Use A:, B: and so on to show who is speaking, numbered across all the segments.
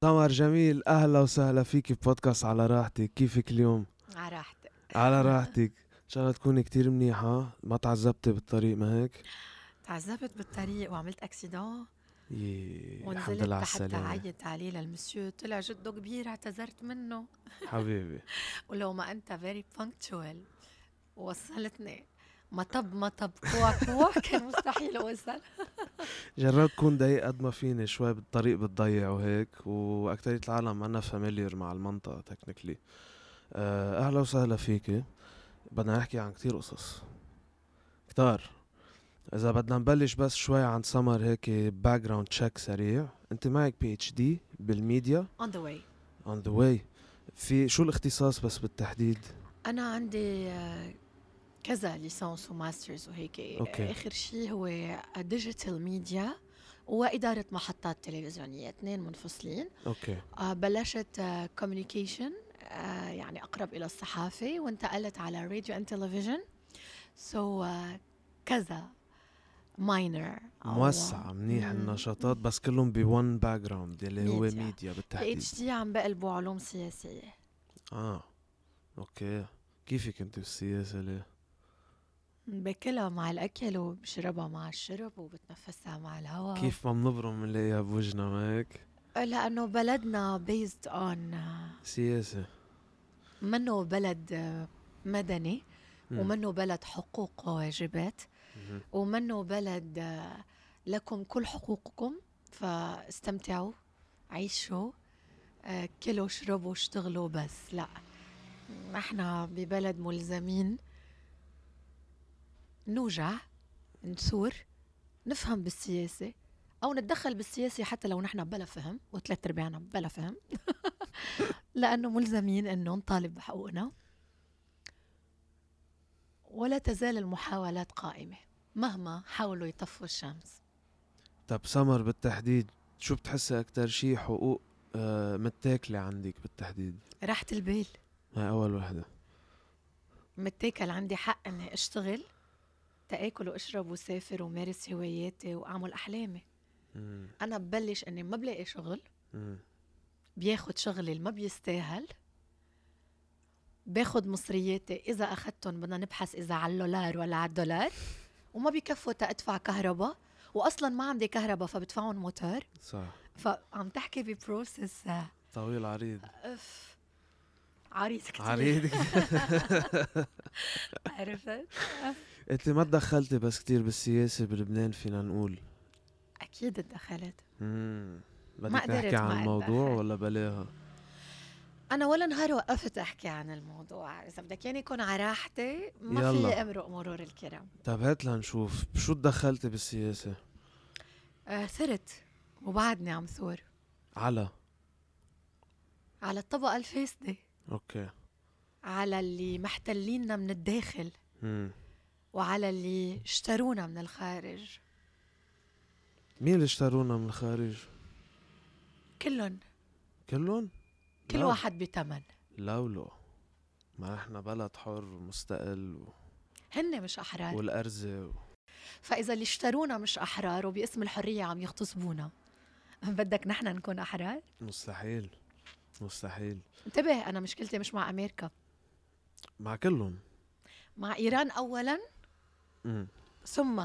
A: تمر جميل اهلا وسهلا فيك ببودكاست على راحتك كيفك اليوم
B: على راحتك
A: على راحتك ان شاء الله تكوني كتير منيحه ما تعذبتي بالطريق ما هيك
B: تعذبت بالطريق وعملت اكسيدون
A: يي، الحمد
B: ونزلت
A: لله على
B: لحتى
A: السلامه
B: عيط عليه للمسيو طلع جده كبير اعتذرت منه
A: حبيبي
B: ولو ما انت فيري بانكتشوال وصلتني مطب مطب كوع كوع كان مستحيل اوصل
A: جربت كون دقيق قد ما فيني شوي بالطريق بتضيع وهيك واكترية العالم عنا فاميليير مع المنطقة تكنيكلي اهلا وسهلا فيكي بدنا نحكي عن كتير قصص كتار اذا بدنا نبلش بس شوي عن سمر هيك باك جراوند تشيك سريع انت معك بي اتش دي بالميديا
B: اون ذا واي
A: اون ذا واي في شو الاختصاص بس بالتحديد
B: انا عندي آه، كذا ليسانس وماسترز وهيك
A: أوكي.
B: اخر شيء هو ديجيتال ميديا واداره محطات تلفزيونيه اثنين منفصلين
A: اوكي
B: آه، بلشت كوميونيكيشن يعني اقرب الى الصحافه وانتقلت على راديو اند تلفزيون سو آه، كذا ماينر
A: موسع منيح
B: مم.
A: النشاطات بس كلهم بون باك جراوند اللي هو
B: ميديا.
A: ميديا
B: بي
A: بالتحديد
B: اتش دي عم بقلبوا علوم سياسيه
A: اه اوكي كيفك انت بالسياسة ليه؟
B: باكلها مع الاكل وبشربها مع الشرب وبتنفسها مع الهواء
A: كيف ما بنبرم بنلاقيها بوجنا ما هيك؟
B: لانه بلدنا آه، بيزد اون
A: سياسة
B: منه بلد آه، مدني
A: مم.
B: ومنه بلد حقوق وواجبات
A: مهم.
B: ومنه بلد آه، لكم كل حقوقكم فاستمتعوا عيشوا آه، كلوا شربوا اشتغلوا بس لا احنا ببلد ملزمين نوجع نثور نفهم بالسياسة أو نتدخل بالسياسة حتى لو نحن بلا فهم وثلاث أرباعنا بلا فهم لأنه ملزمين أنه نطالب بحقوقنا ولا تزال المحاولات قائمة مهما حاولوا يطفوا الشمس
A: طب سمر بالتحديد شو بتحسي أكتر شي حقوق آه متاكلة عندك بالتحديد؟
B: راحة البال
A: هاي أول وحدة
B: متاكل عندي حق اني اشتغل تاكل واشرب وسافر ومارس هواياتي واعمل احلامي
A: مم.
B: انا ببلش اني ما بلاقي شغل
A: مم.
B: بياخد شغلي اللي ما بيستاهل باخد مصرياتي اذا اخدتهم بدنا نبحث اذا على اللولار ولا على الدولار وما بيكفوا تدفع كهرباء واصلا ما عندي كهرباء فبدفعهم موتور
A: صح
B: فعم تحكي ببروسس آه،
A: طويل عريض
B: اف عريض آه، كتير
A: عريض
B: عرفت
A: انت ما تدخلتي بس كتير بالسياسة بلبنان فينا نقول
B: اكيد تدخلت
A: مم. بدك
B: ما قدرت
A: تحكي
B: ما
A: عن الموضوع
B: أتدخل.
A: ولا بلاها؟
B: انا ولا نهار وقفت احكي عن الموضوع اذا بدك ياني اكون على راحتي ما
A: يلا.
B: في امرق مرور الكرام
A: طب هات لنشوف شو تدخلتي بالسياسة؟
B: آه ثرت وبعدني عم ثور
A: على
B: على الطبقه الفاسده
A: اوكي
B: على اللي محتليننا من الداخل
A: مم.
B: وعلى اللي اشترونا من الخارج
A: مين اللي اشترونا من الخارج؟
B: كلهم
A: كلهم؟
B: كل
A: لا.
B: واحد بتمن
A: لولو ما احنا بلد حر ومستقل و...
B: هن مش احرار
A: والأرزة و...
B: فاذا اللي اشترونا مش احرار وباسم الحريه عم يغتصبونا بدك نحن نكون احرار
A: مستحيل مستحيل
B: انتبه انا مشكلتي مش مع امريكا
A: مع كلهم
B: مع ايران اولا
A: مم.
B: ثم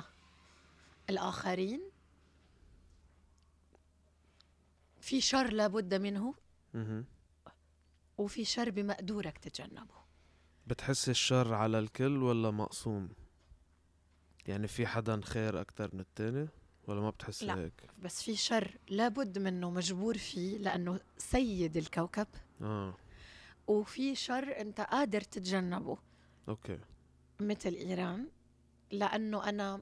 B: الآخرين في شر لابد منه
A: مهم.
B: وفي شر بمقدورك تتجنبه
A: بتحس الشر على الكل ولا مقسوم؟ يعني في حدا خير أكتر من التاني ولا ما بتحس
B: لا.
A: هيك؟
B: بس في شر لابد منه مجبور فيه لأنه سيد الكوكب
A: اه
B: وفي شر أنت قادر تتجنبه
A: اوكي
B: مثل إيران لأنه أنا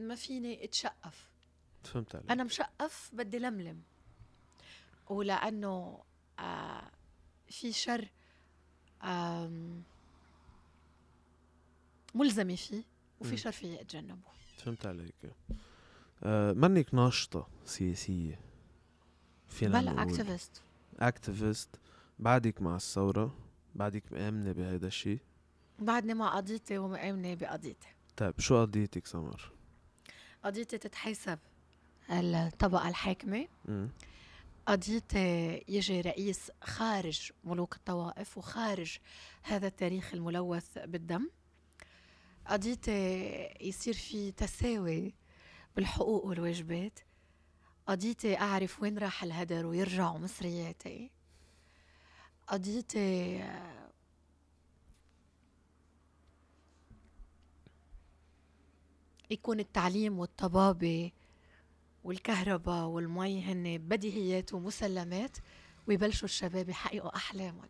B: ما فيني اتشقف
A: فهمت عليك
B: أنا مشقف بدي لملم ولأنه آه في شر آم، ملزمة فيه
A: مم.
B: وفي شر فيي أتجنبه
A: فهمت عليك آه منك ناشطة سياسية فينا
B: بلا
A: نقول.
B: أكتيفيست
A: اكتيفيست بعدك مع الثورة بعدك مآمنة بهيدا الشيء
B: بعدني مع قضيتي ومآمنة بقضيتي
A: طيب شو قضيتك سمر؟
B: قضيتي تتحسب الطبقة الحاكمة
A: مم.
B: قضية يجي رئيس خارج ملوك الطوائف وخارج هذا التاريخ الملوث بالدم قضية يصير في تساوي بالحقوق والواجبات قضيتي أعرف وين راح الهدر ويرجعوا مصرياتي قضيتي يكون التعليم والطبابة والكهرباء والمي هن بديهيات ومسلمات ويبلشوا الشباب يحققوا أحلامهم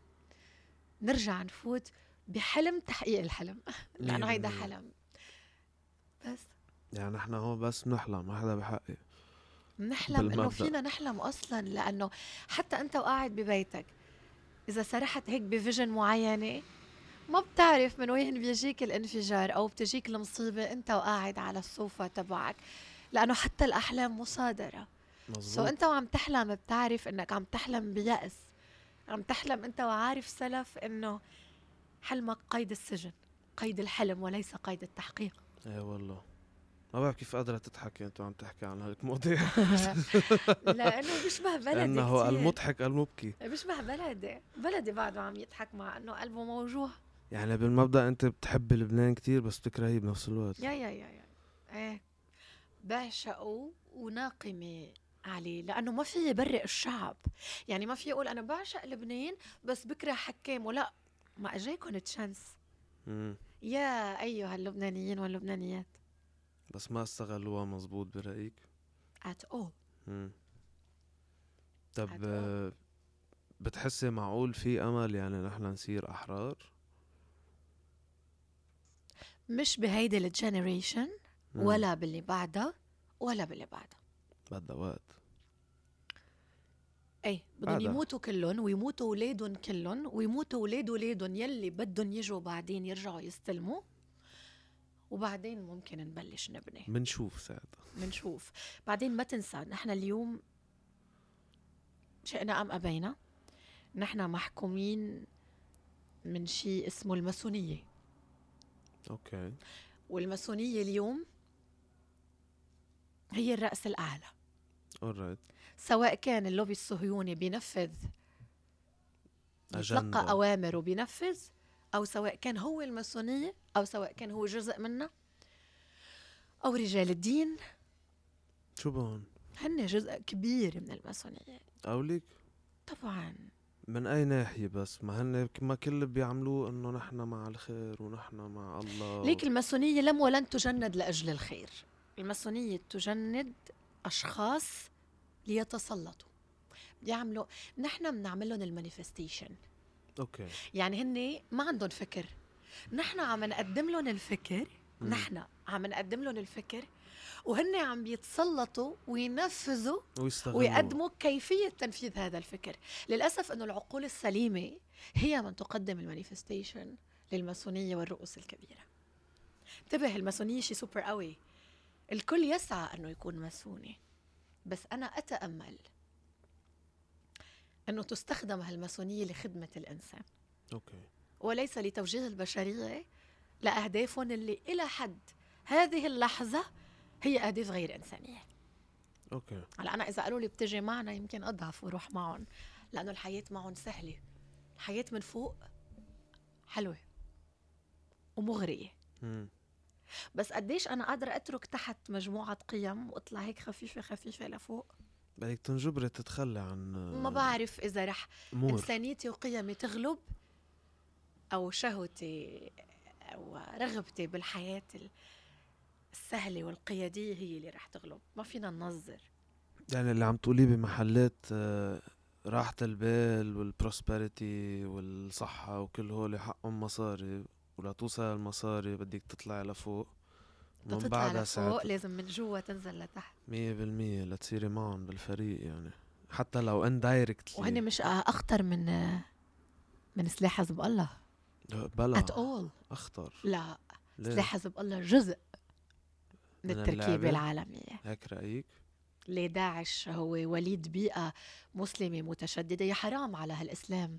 B: نرجع نفوت بحلم تحقيق الحلم لأنه هيدا حلم بس
A: يعني نحن هون بس بنحلم ما حدا بحقق
B: نحلم انه
A: بالمبدأ.
B: فينا نحلم اصلا لانه حتى انت وقاعد ببيتك اذا سرحت هيك بفيجن معينه ما بتعرف من وين بيجيك الانفجار او بتجيك المصيبه انت وقاعد على الصوفه تبعك لانه حتى الاحلام مصادره سو
A: مظبوط
B: انت وعم تحلم بتعرف انك عم تحلم بيأس عم تحلم انت وعارف سلف انه حلمك قيد السجن قيد الحلم وليس قيد التحقيق
A: ايه والله ما بعرف كيف قادرة تضحكي انت عم تحكي عن هالمواضيع
B: لانه بيشبه بلدي
A: انه
B: كتير.
A: المضحك المبكي
B: بيشبه بلدي بلدي بعده عم يضحك مع انه قلبه موجوع
A: يعني بالمبدا انت بتحب لبنان كتير بس بتكرهيه بنفس الوقت
B: يا يا يا يا ايه بعشقه وناقمه عليه لانه ما في يبرئ الشعب يعني ما في يقول انا بعشق لبنان بس بكره حكامه لا ما اجاكم تشانس
A: مم.
B: يا ايها اللبنانيين واللبنانيات
A: بس ما استغلوها مزبوط برايك
B: ات اول
A: مم. طب
B: عاد
A: آه، بتحسي معقول في امل يعني نحن نصير احرار
B: مش بهيدي الجنريشن
A: مم.
B: ولا باللي بعدها ولا باللي بعدها
A: بدها وقت
B: ايه بدهم
A: بعدها.
B: يموتوا كلهم ويموتوا اولادهم كلهم ويموتوا اولاد اولادهم يلي بدهم يجوا بعدين يرجعوا يستلموا وبعدين ممكن نبلش نبني
A: بنشوف ساعتها
B: بنشوف بعدين ما تنسى نحن اليوم شئنا ام ابينا نحن محكومين من شيء اسمه الماسونيه
A: اوكي
B: والماسونيه اليوم هي الراس الاعلى
A: اورايت
B: سواء كان اللوبي الصهيوني بينفذ
A: أجندة.
B: بيتلقى أوامر وبينفذ أو سواء كان هو الماسونية أو سواء كان هو جزء منها أو رجال الدين
A: شو بهون
B: هن جزء كبير من الماسونية
A: قولك
B: طبعا
A: من اي ناحيه بس ما هن ما كل اللي بيعملوه انه نحن مع الخير ونحن مع الله
B: ليك الماسونية لم ولن تجند لأجل الخير الماسونية تجند أشخاص ليتسلطوا بيعملوا نحن بنعمل لهم المانيفستيشن
A: اوكي
B: يعني هن ما عندهم فكر نحن عم نقدم لهم الفكر
A: مم.
B: نحن عم نقدم لهم الفكر وهن عم بيتسلطوا وينفذوا
A: ويستغلوا
B: ويقدموا كيفية تنفيذ هذا الفكر للأسف أنه العقول السليمة هي من تقدم المانيفستيشن للماسونية والرؤوس الكبيرة انتبه الماسونية شيء سوبر قوي الكل يسعى أنه يكون ماسوني بس أنا أتأمل أنه تستخدم هالماسونية لخدمة الإنسان
A: اوكي
B: وليس لتوجيه البشرية لأهدافهم اللي إلى حد هذه اللحظة هي أهداف غير إنسانية
A: اوكي
B: هلا أنا إذا قالوا لي بتجي معنا يمكن أضعف وروح معهم لأنه الحياة معهم سهلة الحياة من فوق حلوة ومغرية
A: مم.
B: بس قديش أنا قادرة أترك تحت مجموعة قيم وأطلع هيك خفيفة خفيفة لفوق
A: بدك تنجبري تتخلي عن
B: ما بعرف إذا رح
A: امور
B: انسانيتي وقيمي تغلب او شهوتي او رغبتي بالحياه ال- السهله والقياديه هي اللي رح تغلب ما فينا ننظر
A: يعني اللي عم تقوليه بمحلات آه، راحة البال والبروسبريتي والصحة وكل هول حقهم مصاري ولا توصل المصاري بدك تطلع لفوق
B: بدها
A: ومن
B: تطلع
A: بعدها
B: لفوق
A: ساعات
B: لازم من جوا تنزل لتحت
A: مية بالمية لتصيري معهم بالفريق يعني حتى لو اندايركتلي
B: وهن مش اخطر من من سلاح حزب الله ات
A: بلا
B: اول
A: أخطر
B: لا
A: ليه؟
B: سلاح حزب الله جزء
A: من
B: من التركيبه
A: اللعبة؟
B: العالميه
A: هيك رأيك؟
B: ليه داعش هو وليد بيئه مسلمه متشدده يا حرام على هالاسلام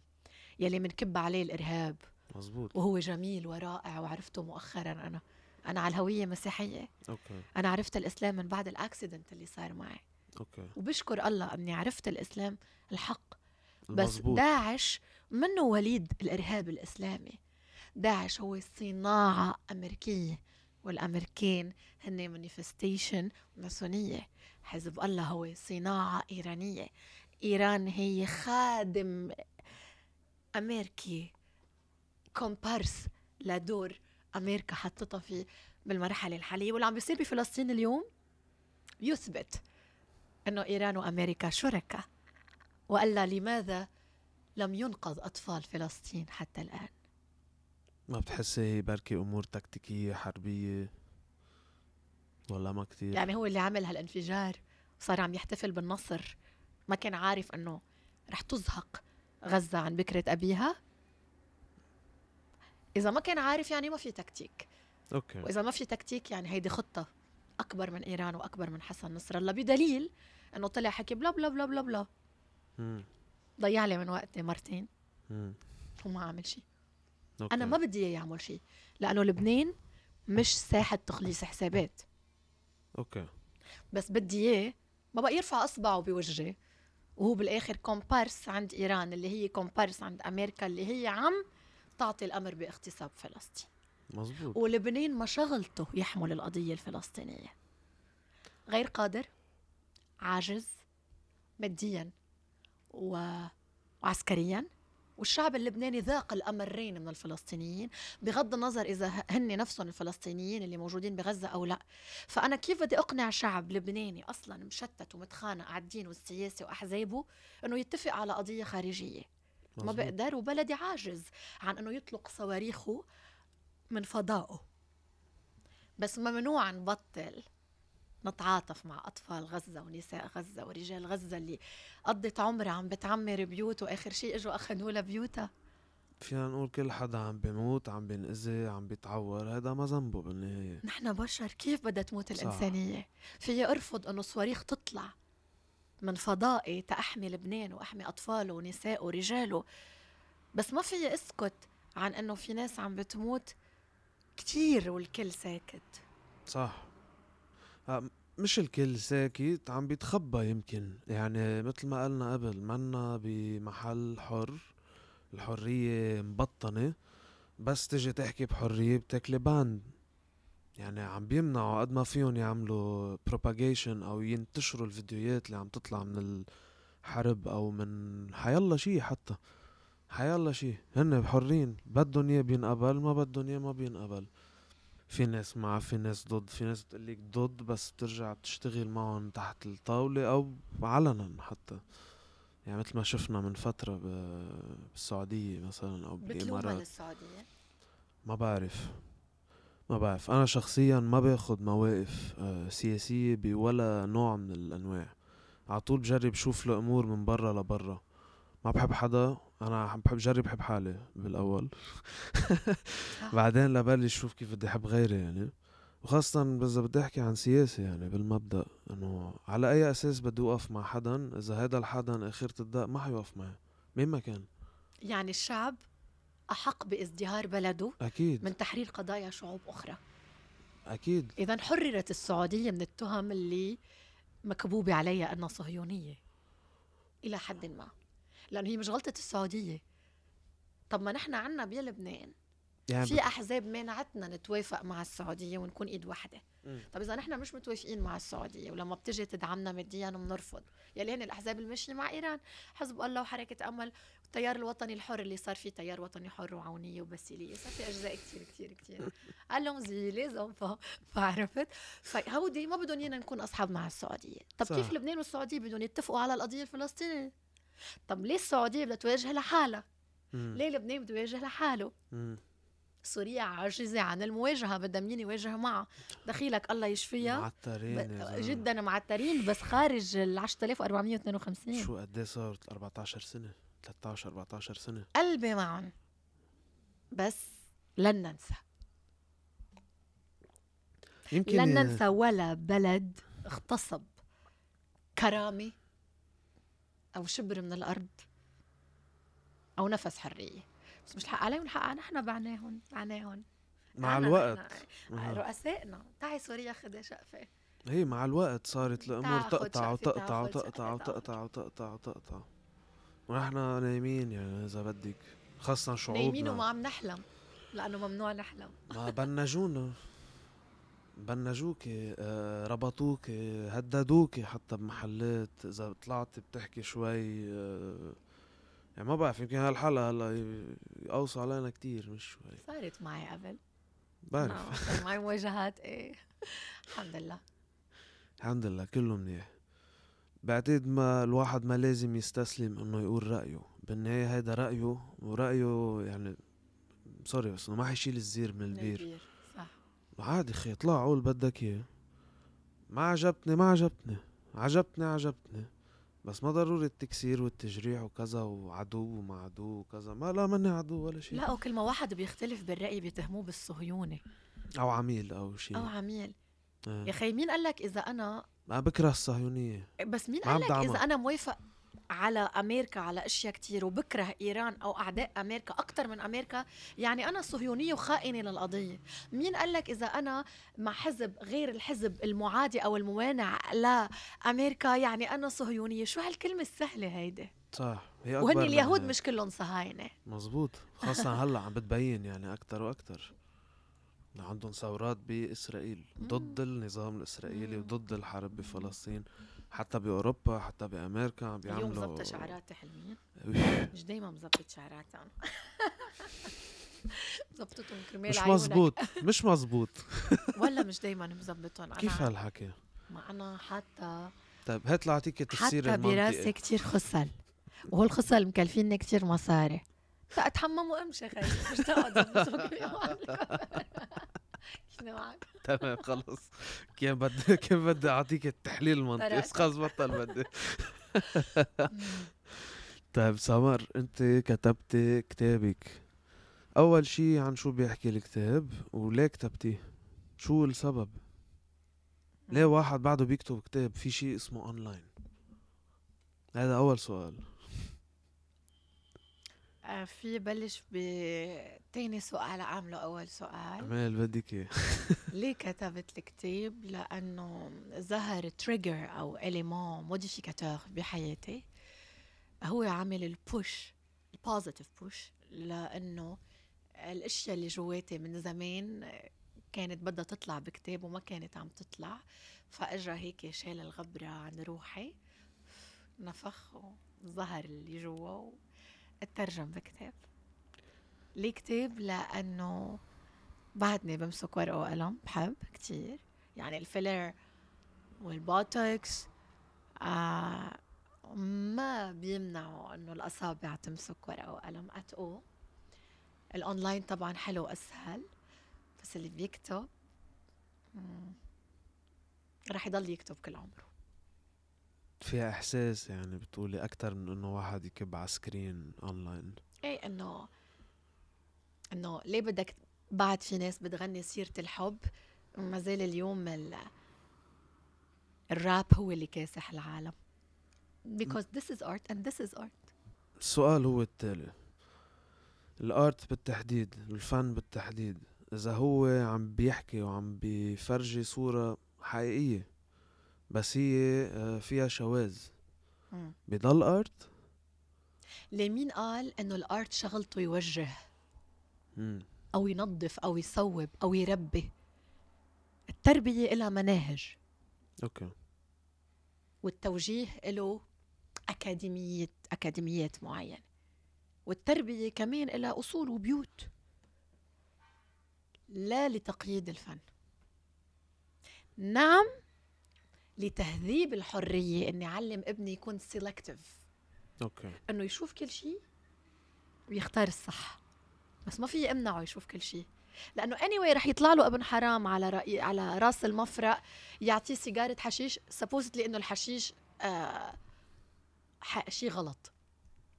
B: يلي منكب عليه الارهاب
A: مزبوط
B: وهو جميل ورائع وعرفته مؤخرا انا انا على الهويه مسيحيه
A: أوكي
B: انا عرفت الاسلام من بعد الاكسيدنت اللي صار معي
A: اوكي
B: وبشكر الله اني عرفت الاسلام الحق بس
A: مزبوط.
B: داعش منه وليد الارهاب الاسلامي داعش هو صناعه امريكيه والامريكان هن مانيفستيشن ماسونيه حزب الله هو صناعه ايرانيه ايران هي خادم امريكي كومبارس لدور امريكا حطتها فيه بالمرحله الحاليه واللي عم بيصير بفلسطين اليوم يثبت انه ايران وامريكا شركاء والا لماذا لم ينقذ اطفال فلسطين حتى الان
A: ما بتحسي هي بركي امور تكتيكيه حربيه ولا ما كتير
B: يعني هو اللي عمل هالانفجار وصار عم يحتفل بالنصر ما كان عارف انه رح تزهق غزه عن بكره ابيها اذا ما كان عارف يعني ما في تكتيك
A: اوكي
B: واذا ما في تكتيك يعني هيدي خطه اكبر من ايران واكبر من حسن نصر الله بدليل انه طلع حكي بلا بلا بلا بلا بلا
A: مم.
B: ضيع لي من وقتي مرتين
A: مم.
B: وما عامل شيء
A: أوكي.
B: انا ما بدي اياه يعمل شيء لانه لبنان مش ساحه تخليص حسابات
A: اوكي
B: بس بدي اياه ما بقى يرفع اصبعه بوجهي وهو بالاخر كومبارس عند ايران اللي هي كومبارس عند امريكا اللي هي عم تعطي الامر باغتصاب فلسطين
A: مزبوط
B: ولبنان ما شغلته يحمل القضيه الفلسطينيه غير قادر عاجز ماديا و... وعسكريا والشعب اللبناني ذاق الامرين من الفلسطينيين بغض النظر اذا هن نفسهم الفلسطينيين اللي موجودين بغزه او لا فانا كيف بدي اقنع شعب لبناني اصلا مشتت ومتخانق على الدين والسياسه واحزابه انه يتفق على قضيه خارجيه ما
A: مزبوط.
B: بقدر وبلدي عاجز عن انه يطلق صواريخه من فضائه بس ممنوع نبطل نتعاطف مع اطفال غزه ونساء غزه ورجال غزه اللي قضت عمرها عم بتعمر بيوت واخر شيء اجوا اخذوا لها بيوتها
A: فينا نقول كل حدا عم بيموت عم بينأذي عم بيتعور هذا ما ذنبه بالنهايه
B: نحن بشر كيف بدها تموت
A: صح.
B: الانسانيه في ارفض انه صواريخ تطلع من فضائي تأحمي لبنان واحمي اطفاله ونسائه ورجاله بس ما في اسكت عن انه في ناس عم بتموت كتير والكل ساكت
A: صح ها، م- مش الكل ساكت عم بيتخبى يمكن يعني مثل ما قلنا قبل منا بمحل حر الحرية مبطنة بس تجي تحكي بحرية بتاكلي باند يعني عم بيمنعوا قد ما فيهم يعملوا propagation او ينتشروا الفيديوهات اللي عم تطلع من الحرب او من حيالله شي حتى حيالله شي هن حرين بدهم اياه بينقبل ما بدهم اياه ما بينقبل في ناس مع في ناس ضد في ناس بتقلك ضد بس بترجع بتشتغل معهم تحت الطاولة أو علنا حتى يعني مثل ما شفنا من فترة ب- بالسعودية مثلا أو
B: بتلومها
A: بالإمارات
B: للسعوديه
A: ما بعرف ما بعرف أنا شخصيا ما باخد مواقف آه، سياسية بولا نوع من الأنواع على طول بجرب شوف الأمور من برا لبرا ما بحب حدا أنا بحب جرب بحب حالي بالأول
B: صح.
A: بعدين لبلش شوف كيف بدي احب غيري يعني وخاصة إذا بدي أحكي عن سياسة يعني بالمبدأ إنه على أي أساس بدي أوقف مع حدا إذا هذا الحدا آخرة الدق ما حيوقف معي مين ما كان
B: يعني الشعب احق بازدهار بلده
A: أكيد
B: من تحرير قضايا شعوب اخرى
A: أكيد
B: إذا حررت السعودية من التهم اللي مكبوبة عليها أنها صهيونية إلى حد ما لأنه هي مش غلطة السعودية طب ما نحن عنا بلبنان
A: يعني
B: في أحزاب مانعتنا نتوافق مع السعودية ونكون إيد واحدة
A: مم.
B: طب إذا نحن مش متوافقين مع السعودية ولما بتجي تدعمنا ماديا بنرفض يلي هن الأحزاب الماشية مع إيران حزب الله وحركة أمل والتيار الوطني الحر اللي صار فيه تيار وطني حر وعونية وبسيلية صار في أجزاء كتير كتير كتير ألونزي لازم ف- فعرفت فهودي ما بدهم ينا نكون أصحاب مع السعودية طب
A: صح.
B: صح. كيف لبنان والسعودية بدهم يتفقوا على القضية الفلسطينية طب ليه السعودية بدها تواجه لحالها
A: مم.
B: ليه لبنان بده يواجه لحاله
A: مم.
B: سوريا عاجزة عن المواجهة بدها مين يواجه معها دخيلك الله يشفيها
A: معترين يا
B: ب-
A: زلمة.
B: جدا معترين بس خارج ال 10452
A: شو قد إيه صارت 14 سنة 13 14 سنة
B: قلبي معهم بس لن ننسى
A: يمكن
B: لن ننسى ولا بلد اغتصب كرامة أو شبر من الأرض أو نفس حرية بس مش الحق عليهم الحق علينا نحن بعناهم بعناهم
A: مع
B: أنا-
A: الوقت
B: أنا-
A: آه.
B: رؤسائنا تعي سوريا خدي شقفة
A: هي مع الوقت صارت الامور
B: تاخد
A: تقطع
B: شقفة،
A: وتقطع
B: تاخد
A: وتقطع
B: شقفة،
A: وتقطع وتقطع وتقطع ونحن نايمين يعني اذا بدك خاصة
B: نايمين وما
A: شعوبنا
B: عم نحلم لانه ممنوع نحلم
A: ما بنجونا بنجوكي آه، ربطوكي هددوكي حتى بمحلات اذا طلعتي بتحكي شوي آه، يعني ما بعرف يمكن هالحلقة هلا ي- يقوصوا علينا كتير مش شوي
B: صارت معي قبل
A: بعرف
B: آه، صار معي مواجهات ايه الحمد لله
A: الحمد لله كله منيح بعتقد ما الواحد ما لازم يستسلم انه يقول رأيه بالنهاية هيدا رأيه ورأيه يعني سوري بس انه ما حيشيل الزير من البير
B: البير صح
A: عادي خي اطلع قول بدك اياه ما عجبتني ما عجبتني عجبتني عجبتني بس ما ضروري التكسير والتجريح وكذا وعدو وما عدو وكذا ما لا مني عدو ولا شيء
B: لا وكل ما واحد بيختلف بالرأي بيتهموه بالصهيونة
A: او عميل او شيء
B: أو عميل يا
A: إيه.
B: أخي مين قال لك إذا أنا
A: ما بكره الصهيونية
B: بس مين
A: ما
B: قال لك
A: بدعمها.
B: إذا أنا موافق على أمريكا على أشياء كتير وبكره إيران أو أعداء أمريكا أكتر من أمريكا يعني أنا صهيونية وخائنة للقضية مين قال لك إذا أنا مع حزب غير الحزب المعادي أو الموانع لأمريكا يعني أنا صهيونية شو هالكلمة السهلة هيدي
A: صح هي أكبر
B: وهن
A: من
B: اليهود
A: هيك.
B: مش كلهم صهاينة
A: مزبوط خاصة هلا عم بتبين يعني أكتر وأكتر عندهم ثورات بإسرائيل ضد النظام الإسرائيلي
B: مم.
A: وضد الحرب بفلسطين حتى بأوروبا حتى بأمريكا عم
B: اليوم
A: بيعملوا
B: زبطة شعراتي حلوين
A: إيه،
B: مش دايما مزبط شعراتي انا مزبطتهم كرمال
A: مش
B: عيونك.
A: مزبوط مش مزبوط
B: ولا مش دايما مزبطهم انا
A: كيف هالحكي
B: ما انا حتى
A: طيب هات لأعطيك تفسير
B: حتى براسي
A: المنطقي
B: كتير خصل وهالخصل مكلفيني كتير مصاري فاتحمم وامشي خيي مش تقعد تمسك فيهم على الكفر. شنو معك؟
A: تمام خلص كيف بدي كيف بدي أعطيك التحليل المنطقي
B: طرقت.
A: خلص بطل بدي
B: مم.
A: طيب سمر انت كتبتي كتابك اول شي عن شو بيحكي الكتاب وليه كتبتيه شو السبب ليه واحد بعده بيكتب كتاب في شي اسمه اونلاين هذا اول سؤال
B: آه، في بلش بتاني سؤال عامله اول سؤال
A: عمال بدك ايه
B: ليه كتبت الكتاب؟ لأنه ظهر تريجر أو إليمون موديفيكاتور بحياتي هو عامل البوش البوزيتيف بوش لأنه الأشياء اللي جواتي من زمان كانت بدها تطلع بكتاب وما كانت عم تطلع فأجا هيك شال الغبرة عن روحي نفخ وظهر اللي جوا واترجم بكتاب ليه كتاب؟ لأنه بعدني بمسك ورقة وقلم بحب كتير يعني الفيلر والبوتوكس آه ما بيمنعوا انه الاصابع تمسك ورقة وقلم اتقو الاونلاين طبعا حلو اسهل بس اللي بيكتب مم، رح يضل يكتب كل عمره
A: فيها احساس يعني بتقولي اكتر من انه واحد يكب على سكرين اونلاين
B: ايه انه انه ليه بدك بعد في ناس بتغني سيرة الحب ما زال اليوم ال... الراب هو اللي كاسح العالم because this is art and this is art
A: السؤال هو التالي الارت بالتحديد الفن بالتحديد اذا هو عم بيحكي وعم بيفرجي صورة حقيقية بس هي آه، فيها شواذ بضل ارت
B: ليه مين قال انه الارت شغلته يوجه
A: مم.
B: او ينظف او يصوب او يربي التربية إلها مناهج
A: اوكي
B: والتوجيه له أكاديمية أكاديميات معينة والتربية كمان إلى أصول وبيوت لا لتقييد الفن نعم لتهذيب الحرية إني أعلم ابني يكون سيلكتيف
A: اوكي
B: إنه يشوف كل شيء ويختار الصح بس ما في امنعه يشوف كل شيء لانه anyway رح يطلع له ابن حرام على رأي على راس المفرق يعطيه سيجاره حشيش سبوزتلي انه الحشيش آه ح- شيء غلط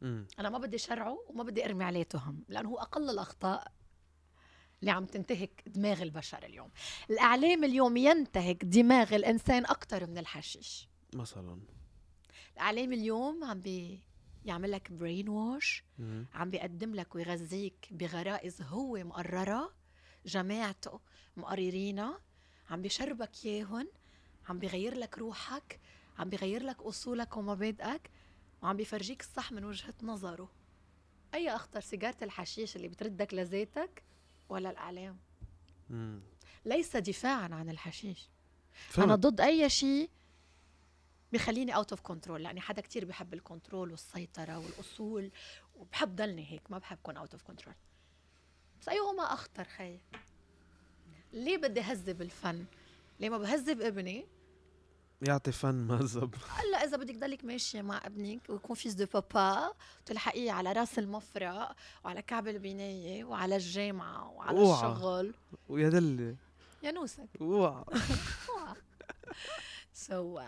A: مم.
B: انا ما بدي شرعه وما بدي ارمي عليه تهم لانه هو اقل الاخطاء اللي عم تنتهك دماغ البشر اليوم الاعلام اليوم ينتهك دماغ الانسان اكثر من الحشيش
A: مثلا
B: الاعلام اليوم عم بي يعمل لك برين واش
A: مم.
B: عم بيقدم لك ويغذيك بغرائز هو مقررة جماعته مقررينها عم بيشربك ياهن عم بيغير لك روحك عم بيغير لك اصولك ومبادئك وعم بيفرجيك الصح من وجهه نظره اي اخطر سيجاره الحشيش اللي بتردك لذاتك ولا الاعلام
A: مم.
B: ليس دفاعا عن الحشيش انا
A: فهمت
B: ضد اي شيء بخليني اوت اوف كنترول لاني حدا كتير بحب الكنترول والسيطره والاصول وبحب ضلني هيك ما بحب كون اوت اوف كنترول بس أيوه، ايهما اخطر خي ليه بدي هذب الفن ليه ما بهذب ابني
A: يعطي فن مهذب
B: هلا اذا بدك ضلك ماشيه مع ابنك ويكون فيس دو بابا وتلحقيه على راس المفرق وعلى كعب البنايه وعلى الجامعه وعلى
A: أوعى.
B: الشغل
A: ويا دلي
B: يانوسك
A: اوعى
B: سو uh,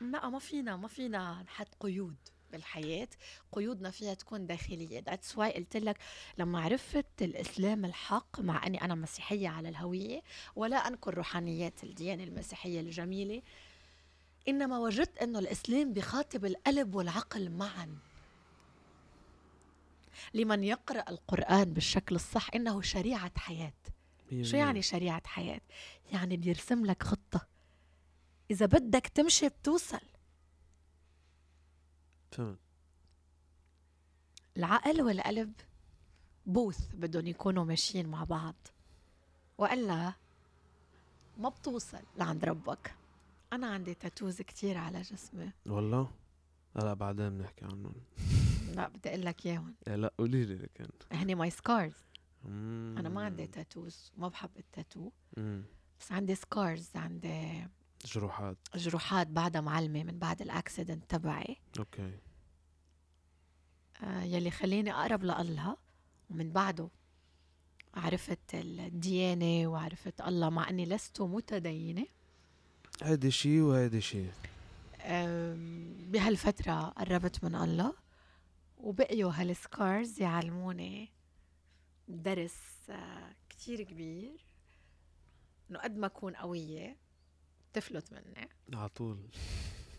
B: ما ما فينا ما فينا نحط قيود بالحياة قيودنا فيها تكون داخلية That's why قلت لك لما عرفت الإسلام الحق مع أني أنا مسيحية على الهوية ولا أنكر روحانيات الديانة المسيحية الجميلة إنما وجدت أنه الإسلام بخاطب القلب والعقل معا لمن يقرأ القرآن بالشكل الصح إنه شريعة حياة شو يعني شريعة حياة؟ يعني بيرسم لك خطة إذا بدك تمشي بتوصل
A: فهمت
B: العقل والقلب بوث بدهم يكونوا ماشيين مع بعض وإلا ما بتوصل لعند ربك أنا عندي تاتوز كتير على جسمي
A: والله هلا بعدين بنحكي عنهم
B: لا بدي أقول لك إياهم
A: إيه لا قولي لي لكن
B: هني ماي سكارز أنا ما عندي تاتوز ما بحب التاتو
A: مم.
B: بس عندي سكارز عندي
A: جروحات
B: جروحات بعدها معلمة من بعد الأكسيدنت تبعي
A: اوكي
B: آه، يلي خلاني أقرب لله ومن بعده عرفت الديانة وعرفت الله مع أني لست متدينة
A: هيدي شيء وهيدي شيء
B: آم، بهالفترة قربت من الله وبقيوا هالسكارز يعلموني درس آه، كتير كبير انه قد ما اكون قوية تفلت مني
A: على طول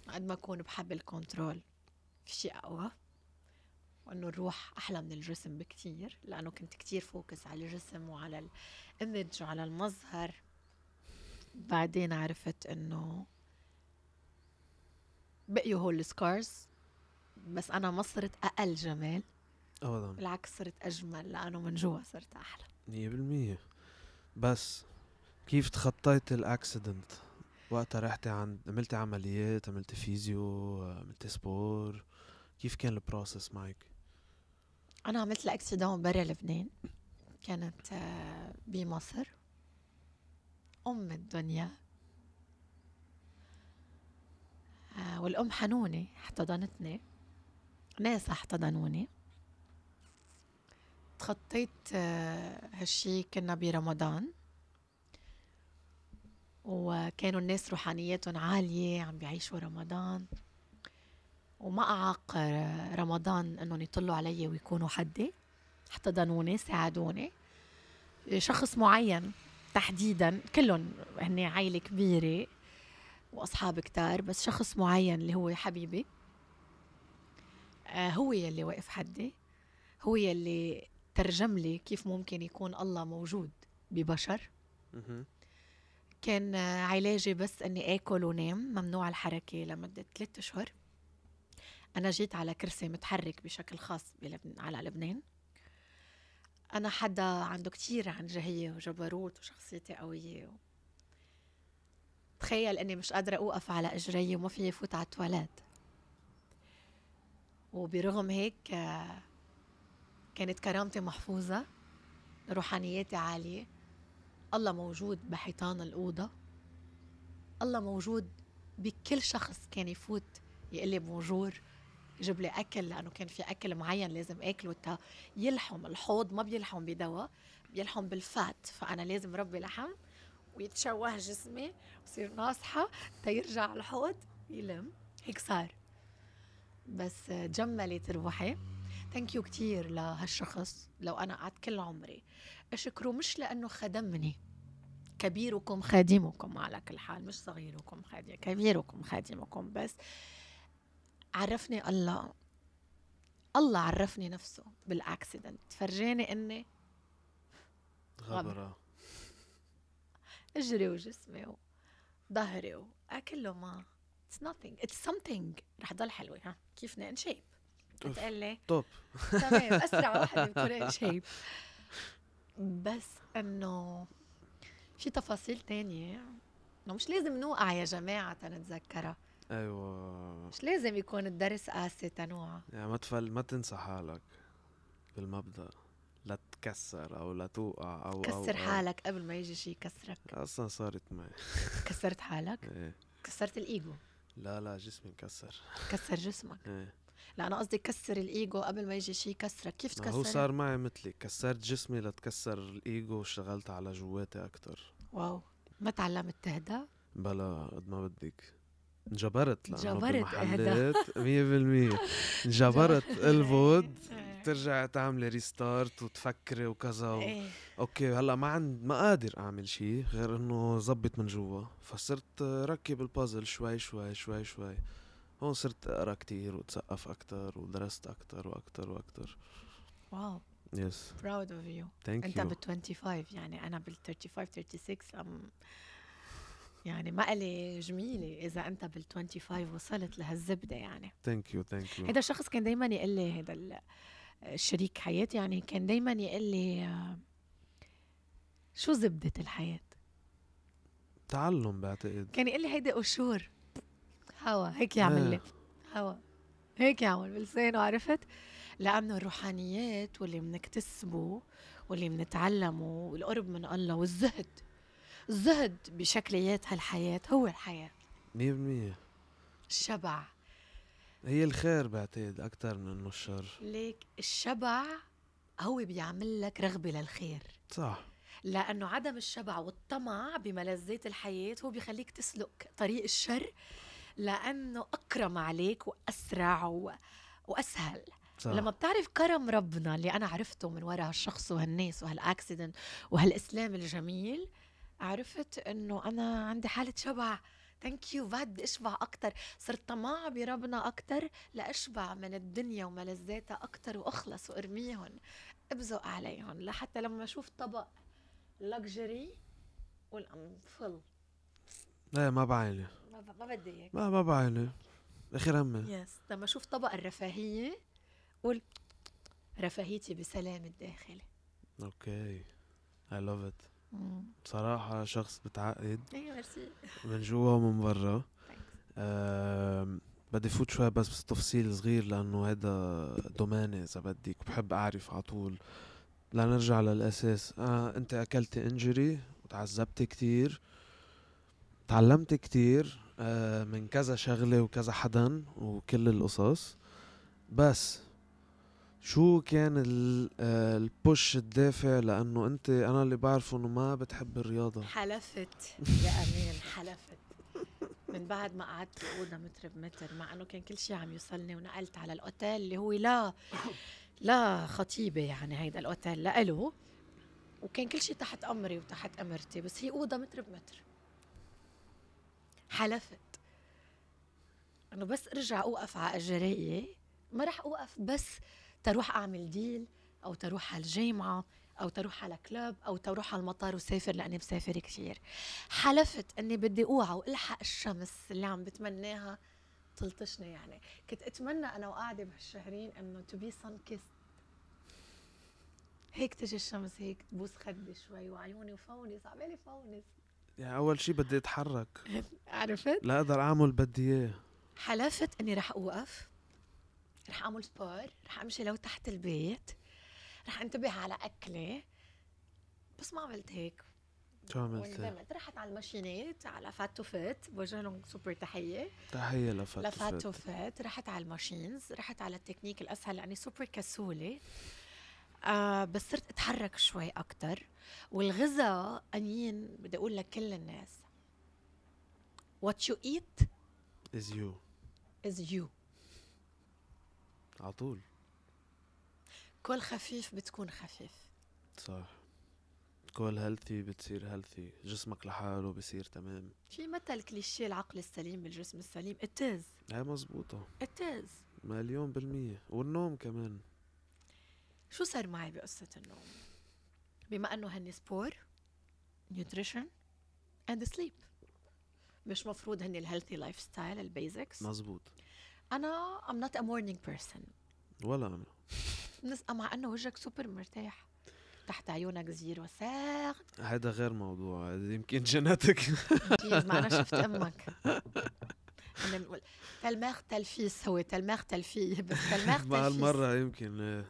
B: قد ما اكون بحب الكنترول في شيء اقوى وانه الروح احلى من الجسم بكتير لانه كنت كتير فوكس على الجسم وعلى الايمج وعلى المظهر بعدين عرفت انه بقيوا هول السكارز بس انا ما صرت اقل جمال
A: ابدا
B: بالعكس صرت اجمل لانه من جوا صرت احلى
A: 100% بس كيف تخطيت الاكسيدنت وقتها رحتي عند عملتي عمليات عملتي فيزيو عملتي سبور كيف كان البروسس معك
B: انا عملت الاكسيدون برا لبنان كانت آه، بمصر ام الدنيا آه، والام حنونه احتضنتني ناس احتضنوني تخطيت آه، هالشي كنا برمضان وكانوا الناس روحانيتهم عالية عم بيعيشوا رمضان وما أعاق آه، رمضان انهم يطلوا علي ويكونوا حدي احتضنوني ساعدوني شخص معين تحديدا كلهم هن عائلة كبيرة وأصحاب كتار بس شخص معين اللي هو حبيبي آه، هو يلي وقف حدي هو يلي ترجم لي كيف ممكن يكون الله موجود ببشر كان آه، علاجي بس اني اكل ونام ممنوع الحركه لمده ثلاثة اشهر انا جيت على كرسي متحرك بشكل خاص بلبن... على لبنان انا حدا عنده كتير عنجهيه وجبروت وشخصيتي قويه و... تخيل اني مش قادره اوقف على اجري وما فيي فوت على التواليت وبرغم هيك آه، كانت كرامتي محفوظه روحانيتي عاليه الله موجود بحيطان الأوضة الله موجود بكل شخص كان يفوت يقلي بونجور يجيب لي أكل لأنه كان في أكل معين لازم أكله تا يلحم الحوض ما بيلحم بدواء بيلحم بالفات فأنا لازم ربي لحم ويتشوه جسمي وصير ناصحة تا يرجع الحوض يلم هيك صار بس جملت روحي ثانك يو كتير لهالشخص لو أنا قعدت كل عمري اشكره مش لانه خدمني كبيركم خادمكم على كل حال مش صغيركم خادم كبيركم خادمكم بس عرفني الله الله عرفني نفسه بالاكسيدنت فرجاني اني
A: غبرة
B: اجري وجسمي و... ظهري واكله ما اتس nothing اتس something رح تضل حلوه ها كيف ان شيب
A: أوف.
B: بتقول لي
A: توب
B: تمام اسرع وحده بتكون ان شيب بس انه في تفاصيل تانية انه مش لازم نوقع يا جماعه تنتذكرها
A: ايوه
B: مش لازم يكون الدرس قاسي تنوع
A: يعني ما تفل ما تنسى حالك بالمبدا لا تكسر او لا توقع او أو-
B: كسر
A: أو.
B: حالك قبل ما يجي شيء يكسرك
A: اصلا صارت معي
B: كسرت حالك
A: إيه.
B: كسرت الايجو
A: لا لا جسمي انكسر
B: كسر جسمك
A: إيه.
B: لا انا قصدي كسر الايجو قبل ما يجي شيء يكسرك كيف
A: ما هو
B: تكسر
A: صار معي مثلي كسرت جسمي لتكسر الايجو واشتغلت على جواتي اكثر
B: واو ما تعلمت تهدى
A: بلا قد ما بدك انجبرت لانه
B: انجبرت
A: بالمحلات 100% انجبرت الفود ترجع تعملي ريستارت وتفكري وكذا و...
B: إيه.
A: اوكي هلا ما عند ما قادر اعمل شيء غير انه زبط من جوا فصرت ركب البازل شوي شوي شوي شوي هون صرت اقرا كتير وتثقف اكتر ودرست اكتر واكتر واكتر
B: واو
A: يس
B: براود اوف يو
A: ثانك
B: انت
A: يو
B: بال 25 يعني انا بال 35 36 أم يعني ما الي جميله اذا انت بال 25 وصلت لهالزبده يعني
A: ثانك يو ثانك يو
B: هذا الشخص كان دائما يقول لي هذا ال- الشريك حياتي يعني كان دائما يقول لي آه، شو زبده الحياه
A: تعلم بعتقد
B: كان يقول لي هيدي قشور هوا هيك يعمل لي
A: آه.
B: هوا هيك يعمل بلسانه عرفت لانه الروحانيات واللي بنكتسبه واللي بنتعلمه والقرب من الله والزهد الزهد بشكليات هالحياه هو الحياه
A: 100%
B: الشبع
A: هي الخير بعتقد اكثر من انه الشر
B: ليك الشبع هو بيعمل لك رغبه للخير
A: صح
B: لانه عدم الشبع والطمع بملذات الحياه هو بيخليك تسلك طريق الشر لانه اكرم عليك واسرع و... واسهل
A: صح
B: لما بتعرف كرم ربنا اللي انا عرفته من وراء هالشخص وهالناس وهالاكسيدنت وهالاسلام الجميل عرفت انه انا عندي حاله شبع ثانك يو بعد بدي اشبع اكثر صرت طماعه بربنا اكثر لاشبع من الدنيا وملذاتها اكثر واخلص وارميهم ابزق عليهم لحتى لما اشوف طبق لكجري قول ام فل
A: لا ما بعيني
B: ما ب- ما بدي اياك
A: ما ما بعيني اخر همي
B: يس لما اشوف طبق الرفاهيه قول رفاهيتي بسلام الداخلي
A: اوكي اي لاف ات
B: مم.
A: بصراحه شخص بتعقد
B: ايه ميرسي
A: من جوا ومن برا
B: Thanks.
A: آم، بدي فوت شوي بس بس تفصيل صغير لانه هذا دوماني اذا بدك بحب اعرف على طول لنرجع للاساس آه انت اكلت انجري وتعذبت كتير تعلمت كتير آه من كذا شغله وكذا حدا وكل القصص بس شو كان ال- آه، البوش الدافع لانه انت انا اللي بعرفه انه ما بتحب الرياضه
B: حلفت يا امان حلفت من بعد ما قعدت اوضه متر بمتر مع انه كان كل شيء عم يوصلني ونقلت على الاوتيل اللي هو لا لا خطيبه يعني هيدا الاوتيل لإله وكان كل شيء تحت امري وتحت امرتي بس هي اوضه متر بمتر حلفت انه بس ارجع اوقف على اجرائي ما رح اوقف بس تروح اعمل ديل او تروح على الجامعه او تروح على كلاب او تروح على المطار وسافر لاني مسافر كثير حلفت اني بدي اوعى والحق الشمس اللي عم بتمناها تلطشني يعني كنت اتمنى انا وقاعده بهالشهرين انه تو بي سان كيست هيك تجي الشمس هيك تبوس خدي شوي وعيوني وفونس عمالي فونس
A: يعني اول شي بدي اتحرك
B: عرفت
A: لا اقدر اعمل بدي اياه
B: حلفت اني رح اوقف رح اعمل سبور رح امشي لو تحت البيت رح انتبه على اكلي بس ما عملت هيك يعني
A: شو عملت؟
B: وندمت رحت على الماشينات على فات وفات بوجه لهم سوبر تحيه
A: تحية لفات
B: لفات
A: لفاتو
B: وفات رحت على الماشينز رحت على التكنيك الاسهل لاني سوبر كسوله آه بس صرت اتحرك شوي اكثر والغذاء انين بدي اقول لكل الناس وات يو ايت
A: از يو
B: از يو
A: على طول
B: كل خفيف بتكون خفيف
A: صح كل هيلثي بتصير هيلثي جسمك لحاله بصير تمام
B: في مثل كليشيه العقل السليم بالجسم السليم اتز
A: هاي مزبوطة
B: اتز
A: مليون بالمية والنوم كمان
B: شو صار معي بقصة النوم؟ بما انه هن سبور نيوتريشن اند سليب مش مفروض هن الهيلثي لايف ستايل البيزكس
A: مزبوط
B: انا I'm not a morning person
A: ولا انا
B: نس- مع انه وجهك سوبر مرتاح تحت عيونك زيرو ساغ
A: هيدا غير موضوع هيدا يمكن جيناتك
B: بليز ما انا شفت امك أنا بقول، تلماخ تلفيس هو تلماخ تلفي بس تلماخ تلفيس
A: مع هالمرة يمكن آه،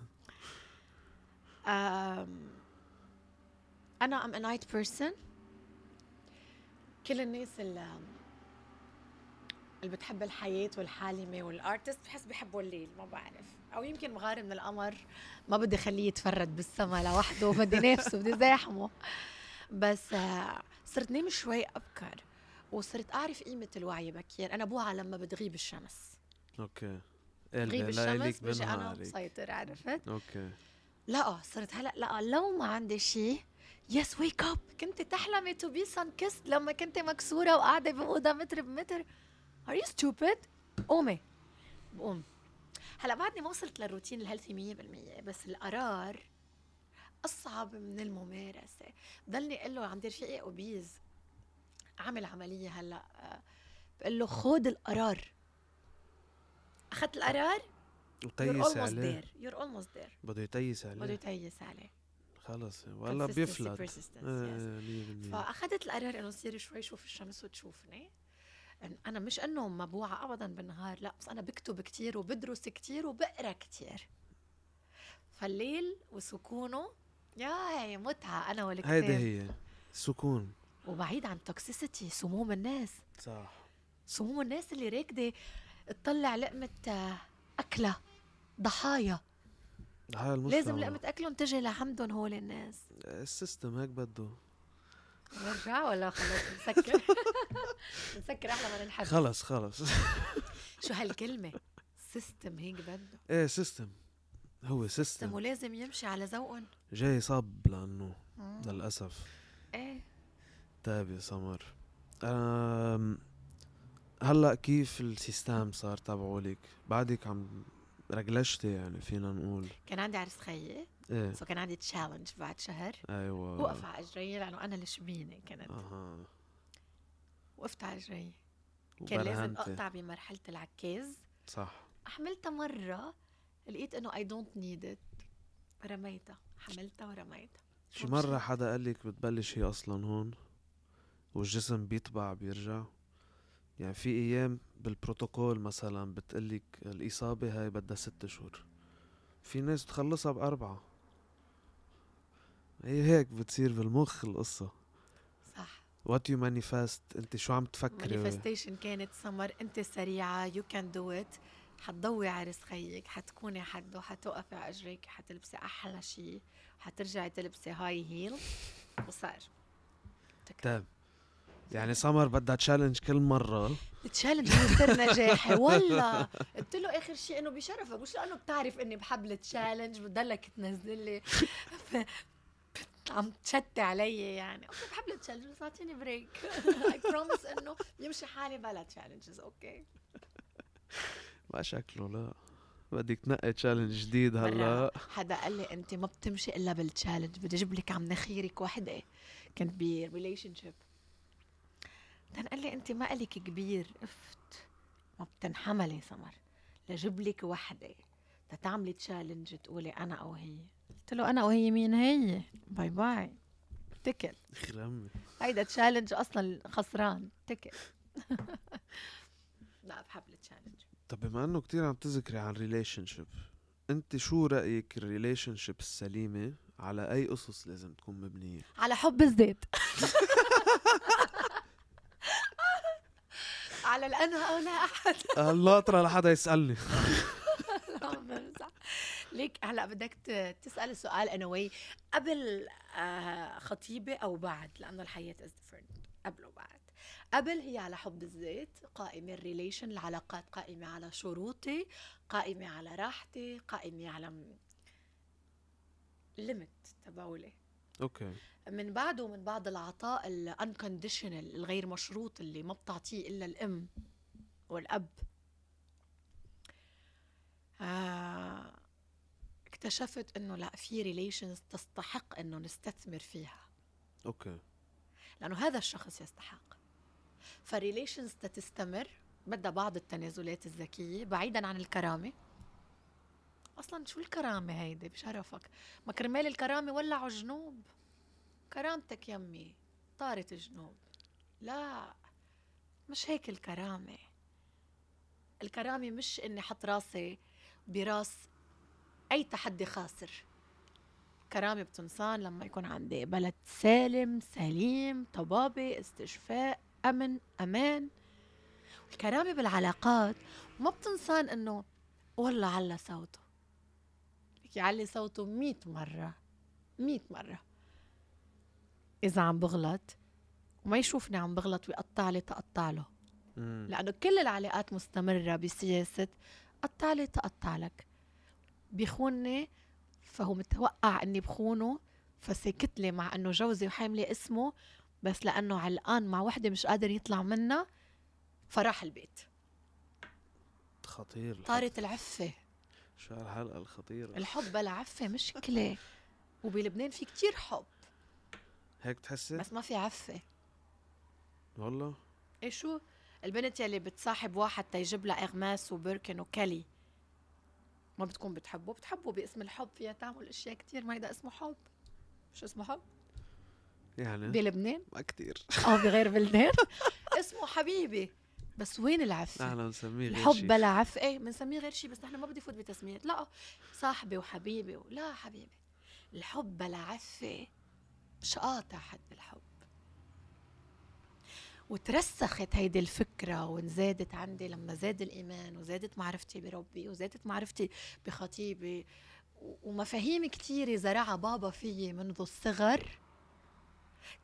B: آم، انا ام نايت بيرسون كل الناس اللي اللي بتحب الحياة والحالمة والارتست بحس بحبوا الليل ما بعرف او يمكن مغار من القمر ما بدي خليه يتفرد بالسما لوحده بدي نافسه بدي زاحمه بس آه، صرت نام شوي ابكر وصرت اعرف قيمة الوعي بكير انا بوعى لما بتغيب الشمس
A: اوكي
B: تغيب
A: قلبي لا
B: الشمس
A: يليك
B: بيجي انا
A: بنهارك
B: مسيطر عرفت
A: اوكي
B: لا صرت هلا لا آه، لو ما عندي شيء يس ويك اب كنت تحلمي تو بي سان كيست لما كنت مكسوره وقاعده باوضه متر بمتر ار يو ستوبد قومي بقوم هلا بعدني ما وصلت للروتين الهيلثي 100% بس القرار اصعب من الممارسه ضلني اقول له عندي رفيقي اوبيز عامل عمليه هلا آه، بقول له خود القرار اخذت القرار you're
A: وتيس
B: almost
A: عليه
B: there you're almost there
A: بده يتيس
B: بده
A: عليه
B: يتيس عليه
A: خلص والله
B: Consistency,
A: بيفلت
B: persistence, yes.
A: آه، مية بالمية.
B: فاخذت القرار انه صير شوي شوف الشمس وتشوفني إن انا مش انه ما بوعى ابدا بالنهار لا بس انا بكتب كتير وبدرس كتير وبقرا كتير فالليل وسكونه ياي متعه انا والكتاب
A: هيدا هي سكون
B: وبعيد عن توكسيسيتي سموم الناس
A: صح
B: سموم الناس اللي راكده تطلع لقمه آه، اكله ضحايا
A: هاي المشكلة
B: لازم لقمه اكلهم تجي لعندهم هول الناس
A: السيستم هيك بده
B: نرجع ولا خلص نسكر نسكر احلى ما ننحب
A: خلص خلص
B: شو هالكلمة سيستم هيك بده
A: ايه سيستم هو
B: سيستم
A: سيستم
B: ولازم يمشي على ذوقهم
A: جاي صب لانه للاسف
B: ايه
A: تاب طيب يا سمر أم، هلا كيف السيستم صار تبعولك بعدك عم رجلشتي يعني فينا نقول
B: كان عندي عرس خيي
A: ايه
B: سو كان عندي تشالنج بعد شهر
A: ايوه
B: وقف على اجري لانه انا الشبينه كنت
A: اها
B: وقفت على اجري كان لازم
A: وبرهنتي.
B: اقطع بمرحله العكاز
A: صح
B: حملتها مره لقيت انه اي دونت نيد ات رميتها حملتها ورميتها
A: شي
B: ومشيت.
A: مرة حدا قال لك بتبلش هي اصلا هون والجسم بيطبع بيرجع يعني في ايام بالبروتوكول مثلا بتقلك الاصابة هاي بدها ست شهور في ناس بتخلصها باربعة هي هيك بتصير بالمخ القصة
B: صح
A: وات يو مانيفست انت شو عم تفكري
B: مانيفستيشن كانت سمر انت سريعه يو كان دو ات حتضوي عرس خيك حتكوني حده حتوقفي على اجريك حتلبسي احلى شيء حترجعي تلبسي هاي هيل وصار
A: تمام يعني سمر بدها تشالنج كل مرة
B: التشالنج هو سر نجاحي والله قلت له اخر شيء انه بشرفك مش لانه بتعرف اني بحب التشالنج بضلك تنزل لي ف- عم تشتي علي يعني اوكي بحب التشالنج بس اعطيني بريك اي بروميس انه يمشي حالي بلا تشالنجز اوكي
A: ما شكله لا بدك تنقي تشالنج جديد هلا
B: مرة حدا قال لي انت ما بتمشي الا بالتشالنج بدي اجيب لك عم نخيرك وحده كنت بريليشن شيب بعدين قال لي انت ما قالك كبير افت ما بتنحملي سمر لجيب لك وحده تتعملي تشالنج تقولي انا او هي قلت له انا وهي مين هي باي باي تكل
A: خرمي
B: هيدا تشالنج اصلا خسران تكل لا بحب التشالنج
A: طب بما انه كتير عم تذكري عن ريليشن شيب انت شو رايك الريليشن شيب السليمه على اي اسس لازم تكون مبنيه
B: على حب الذات على الأنا أو لا أحد
A: الله آه، ترى لحدا يسالني
B: عم بمزح. ليك هلا بدك ت- تسأل السؤال أنا وي قبل آه، خطيبة أو بعد لأنه الحياة از different قبل وبعد قبل هي على حب الذات قائمة الريليشن العلاقات قائمة على شروطي قائمة على راحتي قائمة على ليميت تبعولي
A: اوكي
B: من بعده من بعض العطاء الانكونديشنال الغير مشروط اللي ما بتعطيه الا الام والاب آه اكتشفت انه لا في ريليشنز تستحق انه نستثمر فيها
A: اوكي
B: لانه هذا الشخص يستحق فريليشنز تستمر بدها بعض التنازلات الذكية بعيدا عن الكرامة أصلا شو الكرامة هيدي بشرفك ما كرمال الكرامة ولعوا جنوب كرامتك يمي طارت جنوب لا مش هيك الكرامة الكرامة مش إني حط راسي براس أي تحدي خاسر كرامة بتنصان لما يكون عندي بلد سالم سليم طبابة استشفاء أمن أمان الكرامة بالعلاقات ما بتنصان إنه والله على صوته لك يعلي صوته مئة مرة مئة مرة إذا عم بغلط وما يشوفني عم بغلط ويقطع لي تقطع له
A: مم.
B: لأنه كل العلاقات مستمرة بسياسة قطع لي تقطع لك بيخونني فهو متوقع اني بخونه فسكت لي مع انه جوزي وحامله اسمه بس لانه علقان مع وحده مش قادر يطلع منها فراح البيت
A: خطير الحب.
B: طارت العفه
A: شو هالحلقه الخطيره
B: الحب بلا عفه مشكله وبلبنان في كتير حب
A: هيك بتحسي
B: بس ما في عفه
A: والله
B: ايه شو البنت يلي بتصاحب واحد تيجيب لها اغماس وبركن وكلي ما بتكون بتحبه بتحبه باسم الحب فيها تعمل اشياء كتير ما هيدا اسمه حب مش اسمه حب
A: يعني
B: بلبنان
A: ما كتير
B: او بغير بلدان اسمه حبيبي بس وين العفه
A: نحن بنسميه غير شي.
B: الحب بلا عفه ايه بنسميه غير شيء بس نحن ما بدي فوت بتسميات لا صاحبي وحبيبي و- لا حبيبي الحب بلا عفه مش قاطع حد الحب وترسخت هيدي الفكرة وانزادت عندي لما زاد الإيمان وزادت معرفتي بربي وزادت معرفتي بخطيبي و- ومفاهيم كتيرة زرعها بابا فيي منذ الصغر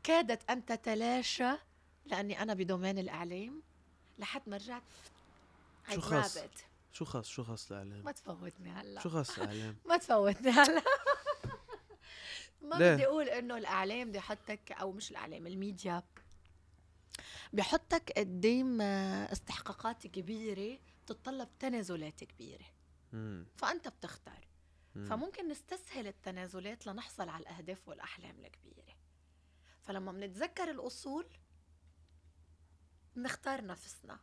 B: كادت أن تتلاشى لأني أنا بدومين الإعلام لحد ما رجعت
A: شو خص؟ شو خص شو خص الاعلام
B: ما تفوتني هلا
A: شو خص الاعلام
B: ما تفوتني هلا ما
A: ليه؟
B: بدي اقول انه الاعلام بيحطك او مش الاعلام الميديا بيحطك قدام آه، استحقاقات كبيره بتتطلب تنازلات كبيره
A: مم.
B: فانت بتختار
A: مم.
B: فممكن نستسهل التنازلات لنحصل على الاهداف والاحلام الكبيره فلما بنتذكر الاصول بنختار نفسنا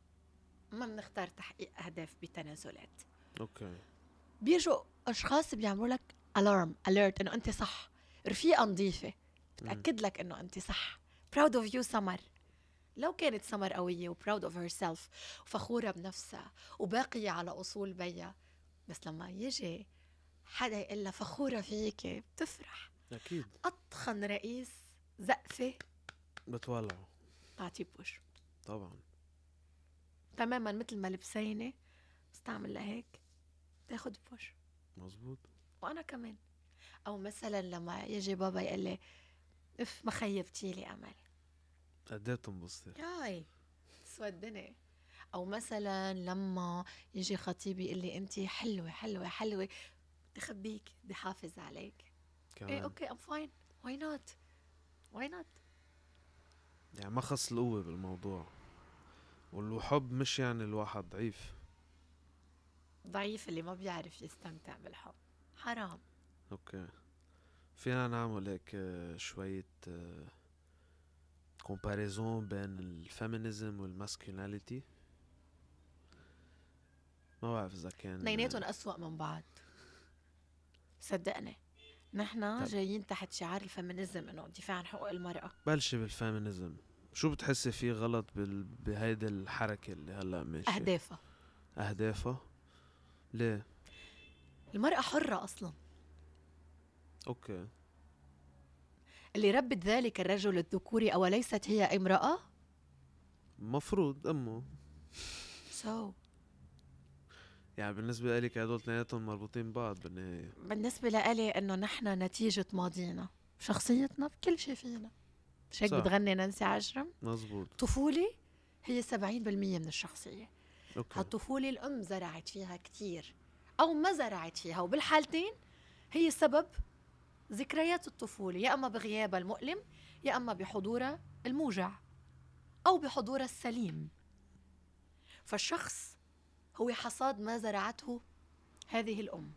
B: ما بنختار تحقيق اهداف بتنازلات
A: اوكي
B: بيجوا اشخاص بيعملوا لك الارم اليرت انه انت صح رفيقه نظيفه بتاكد لك انه انت صح براود اوف يو سمر لو كانت سمر قويه وبراود اوف هير سيلف وفخوره بنفسها وباقيه على اصول بيها بس لما يجي حدا يقول لها فخوره فيكي بتفرح
A: اكيد
B: اتخن رئيس زقفه
A: بتولعوا
B: بعطيه بوش
A: طبعا
B: تماما مثل ما لبسينه استعمل لهيك تاخد بوش
A: مزبوط
B: وانا كمان او مثلا لما يجي بابا يقول لي اف ما خيبتي لي امل
A: قد ايه بتنبسطي
B: هاي سودني او مثلا لما يجي خطيبي يقول لي انت حلوه حلوه حلوه بدي خبيك بدي حافظ عليك ايه
A: كمان
B: اوكي ام فاين واي نوت واي نوت
A: يعني ما خص القوه بالموضوع والحب مش يعني الواحد ضعيف
B: ضعيف اللي ما بيعرف يستمتع بالحب حرام
A: اوكي فينا نعمل هيك آه، شوية كومباريزون بين الفيمينيزم والماسكولينيتي ما بعرف اذا كان
B: اثنيناتهم أسوأ من بعض صدقني نحن
A: طب.
B: جايين تحت شعار الفيمينيزم انه دفاع عن حقوق المرأة
A: بلشي بالفيمينيزم شو بتحسي فيه غلط بال... بهيدي الحركة اللي هلا ماشية
B: أهدافها
A: أهدافها ليه
B: المرأة حرة أصلا
A: اوكي
B: اللي ربت ذلك الرجل الذكوري أوليست هي امرأة؟
A: مفروض امه
B: سو so.
A: يعني بالنسبة لي هدول اثنيناتهم مربوطين بعض بالنهاية
B: بالنسبة لإلي إنه نحن نتيجة ماضينا شخصيتنا بكل شيء فينا مش هيك
A: صح.
B: بتغني نانسي عجرم
A: مزبوط
B: طفولة هي 70% من الشخصية
A: اوكي
B: هالطفولة الأم زرعت فيها كتير أو ما زرعت فيها وبالحالتين هي سبب ذكريات الطفولة يا أما بغيابها المؤلم يا أما بحضورها الموجع أو بحضورها السليم فالشخص هو حصاد ما زرعته هذه الأم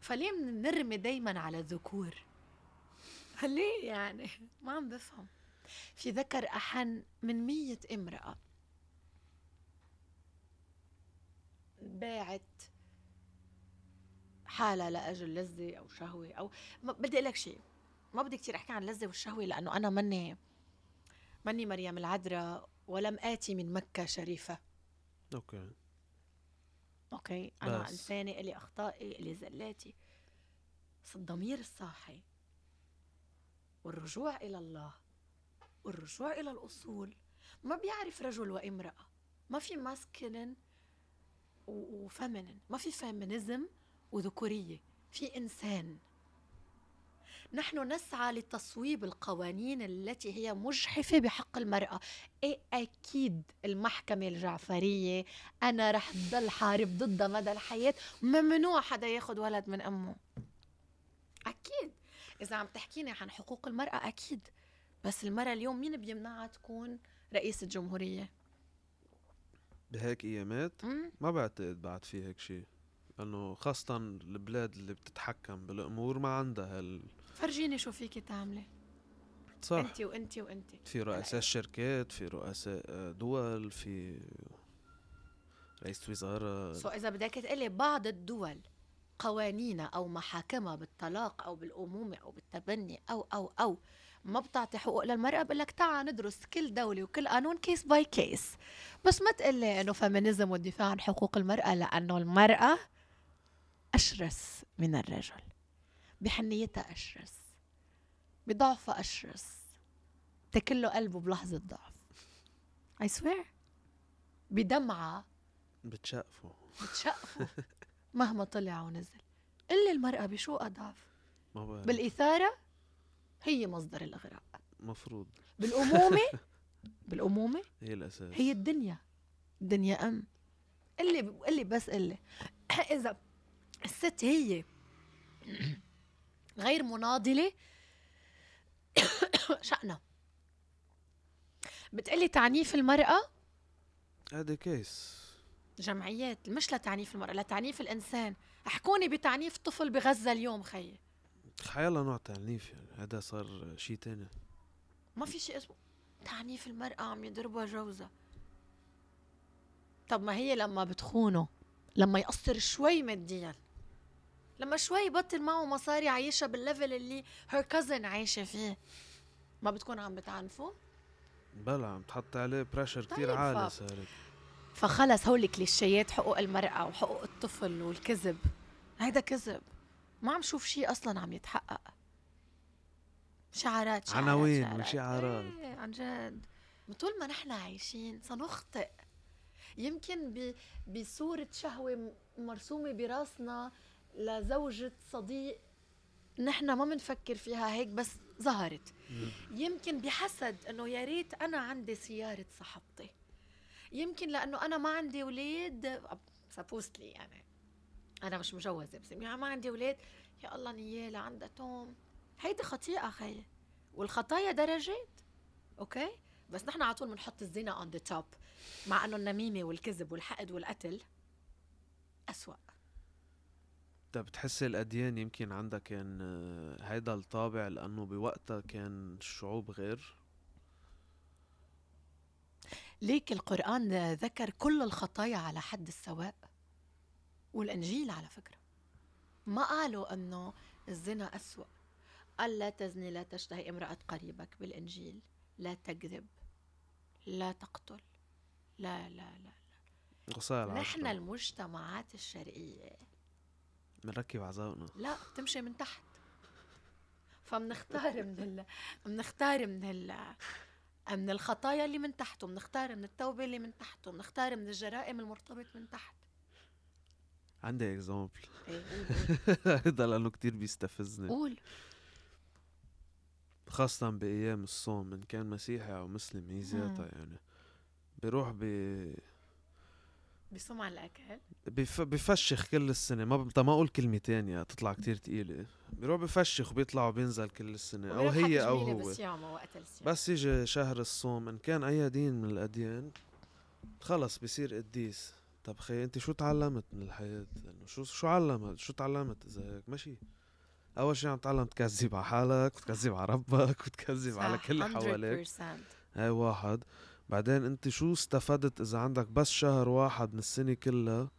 B: فليه بنرمي دايما على الذكور ليه يعني ما عم بفهم في ذكر أحن من مية امرأة باعت حالها لأجل لذة أو شهوة أو ما بدي أقول لك شيء ما بدي كتير أحكي عن اللذة والشهوة لأنه أنا مني مني مريم العذراء ولم آتي من مكة شريفة
A: اوكي
B: اوكي انا
A: بس.
B: انسانه الي اخطائي الي زلاتي بس الضمير الصاحي والرجوع الى الله والرجوع الى الاصول ما بيعرف رجل وامراه ما في ماسكلين وفمنن ما في فيمينيزم وذكوريه في انسان نحن نسعى لتصويب القوانين التي هي مجحفه بحق المراه إيه اكيد المحكمه الجعفريه انا رح ضل حارب ضدها مدى الحياة ممنوع حدا ياخد ولد من أمه أكيد إذا عم تحكيني عن حقوق المرأة أكيد بس المرأة اليوم مين بيمنعها تكون رئيسة جمهورية
A: بهيك ايامات
B: أم؟
A: ما بعتقد بعد في هيك شيء لانه خاصة البلاد اللي بتتحكم بالامور ما عندها هال
B: فرجيني شو فيكي تعملي
A: صح
B: انتي وانتي وانتي
A: في رؤساء شركات في رؤساء آه، دول في رئيس وزارة
B: سو إذا بدك تقلي بعض الدول قوانينها أو محاكمها بالطلاق أو بالأمومة أو بالتبني أو أو أو ما بتعطي حقوق للمرأة بقول لك تعال ندرس كل دولة وكل قانون كيس باي كيس بس ما تقلي إنه فيمينيزم والدفاع عن حقوق المرأة لأنه المرأة أشرس من الرجل بحنيتها أشرس بضعفها أشرس تكله قلبه بلحظة ضعف I swear بدمعة
A: بتشقفوا
B: بتشقفوا مهما طلع ونزل اللي المرأة بشو أضعف
A: ما بعرف
B: بالإثارة هي مصدر الإغراء
A: مفروض
B: بالأمومة بالأمومة
A: هي الاساس
B: هي الدنيا الدنيا أم اللي اللي بس اللي إذا الست هي غير مناضلة شأنها بتقلي تعنيف المرأة
A: هذا كيس
B: جمعيات مش لتعنيف المرأة لتعنيف الإنسان احكوني بتعنيف طفل بغزة اليوم خيي
A: حيلا نوع تعنيف يعني هذا صار شيء تاني
B: ما في شيء اسمه تعنيف المرأة عم يضربها جوزها طب ما هي لما بتخونه لما يقصر شوي ماديا لما شوي بطل معه مصاري عايشة بالليفل اللي هير كازن عايشة فيه ما بتكون عم بتعنفه
A: بلا عم تحط عليه بريشر كثير
B: طيب،
A: عالي
B: ف-
A: صارت
B: فخلص هول كليشيات حقوق المرأة وحقوق الطفل والكذب هيدا كذب ما عم شوف شيء أصلا عم يتحقق شعارات شعارات
A: عناوين
B: شعارات.
A: وشعارات.
B: إيه عن جد طول ما نحن عايشين سنخطئ يمكن ب... بصورة شهوة م- مرسومة براسنا لزوجة صديق نحن ما بنفكر فيها هيك بس ظهرت يمكن بحسد انه يا ريت انا عندي سياره صاحبتي يمكن لانه انا ما عندي اولاد سبوستلي يعني انا مش مجوزه بس يعني ما عندي اولاد يا الله نيالة عندها توم هيدي خطيئه خيي والخطايا درجات اوكي بس نحن على طول بنحط الزنا اون ذا توب مع انه النميمه والكذب والحقد والقتل أسوأ
A: انت بتحس الاديان يمكن عندها كان آه، هيدا الطابع لانه بوقتها كان الشعوب غير
B: ليك القرآن ذكر كل الخطايا على حد السواء والإنجيل على فكرة ما قالوا أنه الزنا أسوأ قال لا تزني لا تشتهي امرأة قريبك بالإنجيل لا تكذب لا تقتل لا لا لا
A: قصايا
B: نحن
A: نحن
B: المجتمعات الشرقية
A: بنركب عزاؤنا
B: لا بتمشي من تحت فبنختار من ال... بنختار من ال... من الخطايا اللي من تحت وبنختار من التوبة اللي من تحت وبنختار من الجرائم المرتبط من تحت
A: عندي اكزامبل
B: إيه، قول-
A: هيدا لانه كتير بيستفزني
B: قول
A: خاصة بأيام الصوم إن كان مسيحي أو مسلم هي ذاتها يعني بيروح بي...
B: بصوم على الأكل
A: بيف... بفشخ كل السنة ما ب... طب ما أقول كلمة تانية تطلع كتير تقيلة بيروح بفشخ وبيطلع وبينزل كل السنة أو
B: وبيرحب
A: هي أو
B: جميلة
A: هو
B: بالصيام وقت الصيام
A: بس يجي شهر الصوم إن كان أي دين من الأديان خلص بصير قديس طب خي انت شو تعلمت من الحياة؟ انه شو شو علمت؟ شو تعلمت اذا هيك؟ ماشي اول شيء عم تتعلم تكذب على حالك وتكذب على ربك وتكذب على
B: صح،
A: كل اللي حواليك
B: 100%
A: هاي واحد بعدين انت شو استفدت اذا عندك بس شهر واحد من السنه كلها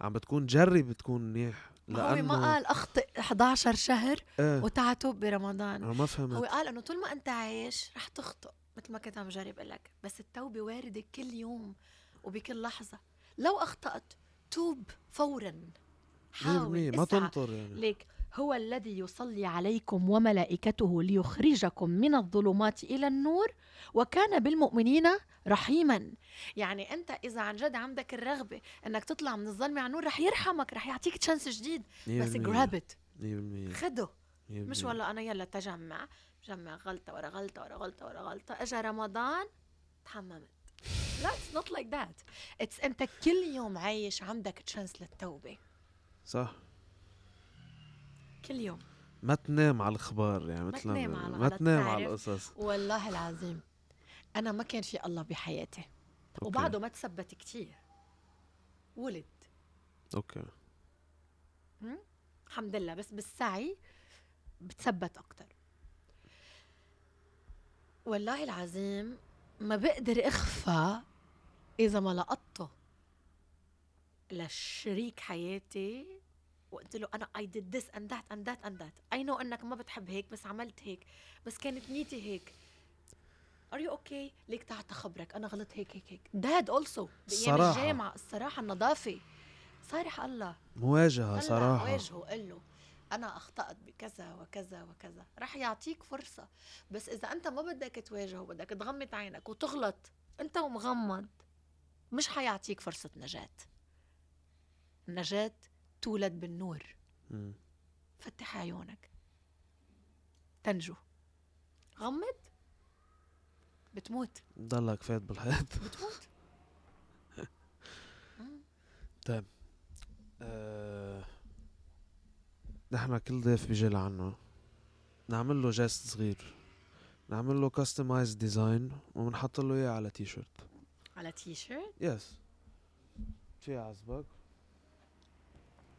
A: عم بتكون جرب تكون منيح
B: هو
A: لانه
B: ما قال اخطئ 11 شهر
A: ايه
B: وتعتوب برمضان
A: انا ما
B: هو
A: فهمت
B: قال انه طول ما انت عايش رح تخطئ مثل ما كنت عم جرب لك بس التوبه وارده كل يوم وبكل لحظه لو اخطات توب فورا
A: 100%
B: حاول
A: ما
B: اسعى
A: تنطر يعني
B: ليك هو الذي يصلي عليكم وملائكته ليخرجكم من الظلمات الى النور وكان بالمؤمنين رحيما يعني انت اذا عن جد عندك الرغبه انك تطلع من الظلمه على النور رح يرحمك رح يعطيك تشانس جديد بس
A: 100%
B: grab it
A: 100%
B: خده
A: 100%
B: مش والله انا يلا تجمع جمع غلطه ورا غلطه ورا غلطه ورا غلطه اجى رمضان تحممت لا اتس نوت لايك ذات اتس انت كل يوم عايش عندك تشانس للتوبه
A: صح
B: كل يوم
A: ما تنام على الخبار يعني مثل ما
B: تنام على-
A: ما
B: على
A: تنام على
B: التعرف.
A: القصص
B: والله العظيم انا ما كان في الله بحياتي
A: أوكي.
B: وبعده ما تثبت كتير ولد
A: اوكي
B: الحمد لله بس بالسعي بتثبت اكتر والله العظيم ما بقدر اخفى اذا ما لقطته لشريك حياتي وقلت له انا اي ديد ذس اند ذات اند ذات اند ذات اي نو انك ما بتحب هيك بس عملت هيك بس كانت نيتي هيك ار يو اوكي ليك تعال خبرك انا غلط هيك هيك هيك داد اولسو بايام
A: الصراحة.
B: الجامعه الصراحه النظافه صارح الله
A: مواجهه
B: هلا
A: صراحه
B: واجهه قل له انا اخطات بكذا وكذا وكذا رح يعطيك فرصه بس اذا انت ما بدك تواجهه بدك تغمض عينك وتغلط انت ومغمض مش حيعطيك فرصه نجاه النجاه تولد بالنور
A: مم.
B: فتح عيونك تنجو غمض بتموت
A: ضلك فات بالحياه
B: بتموت مم.
A: آه، نحن كل ضيف بيجي لعنا نعمل له جاست صغير نعمل له كاستمايز ديزاين وبنحط له اياه على تي شيرت
B: على تي شيرت
A: يس في عزبك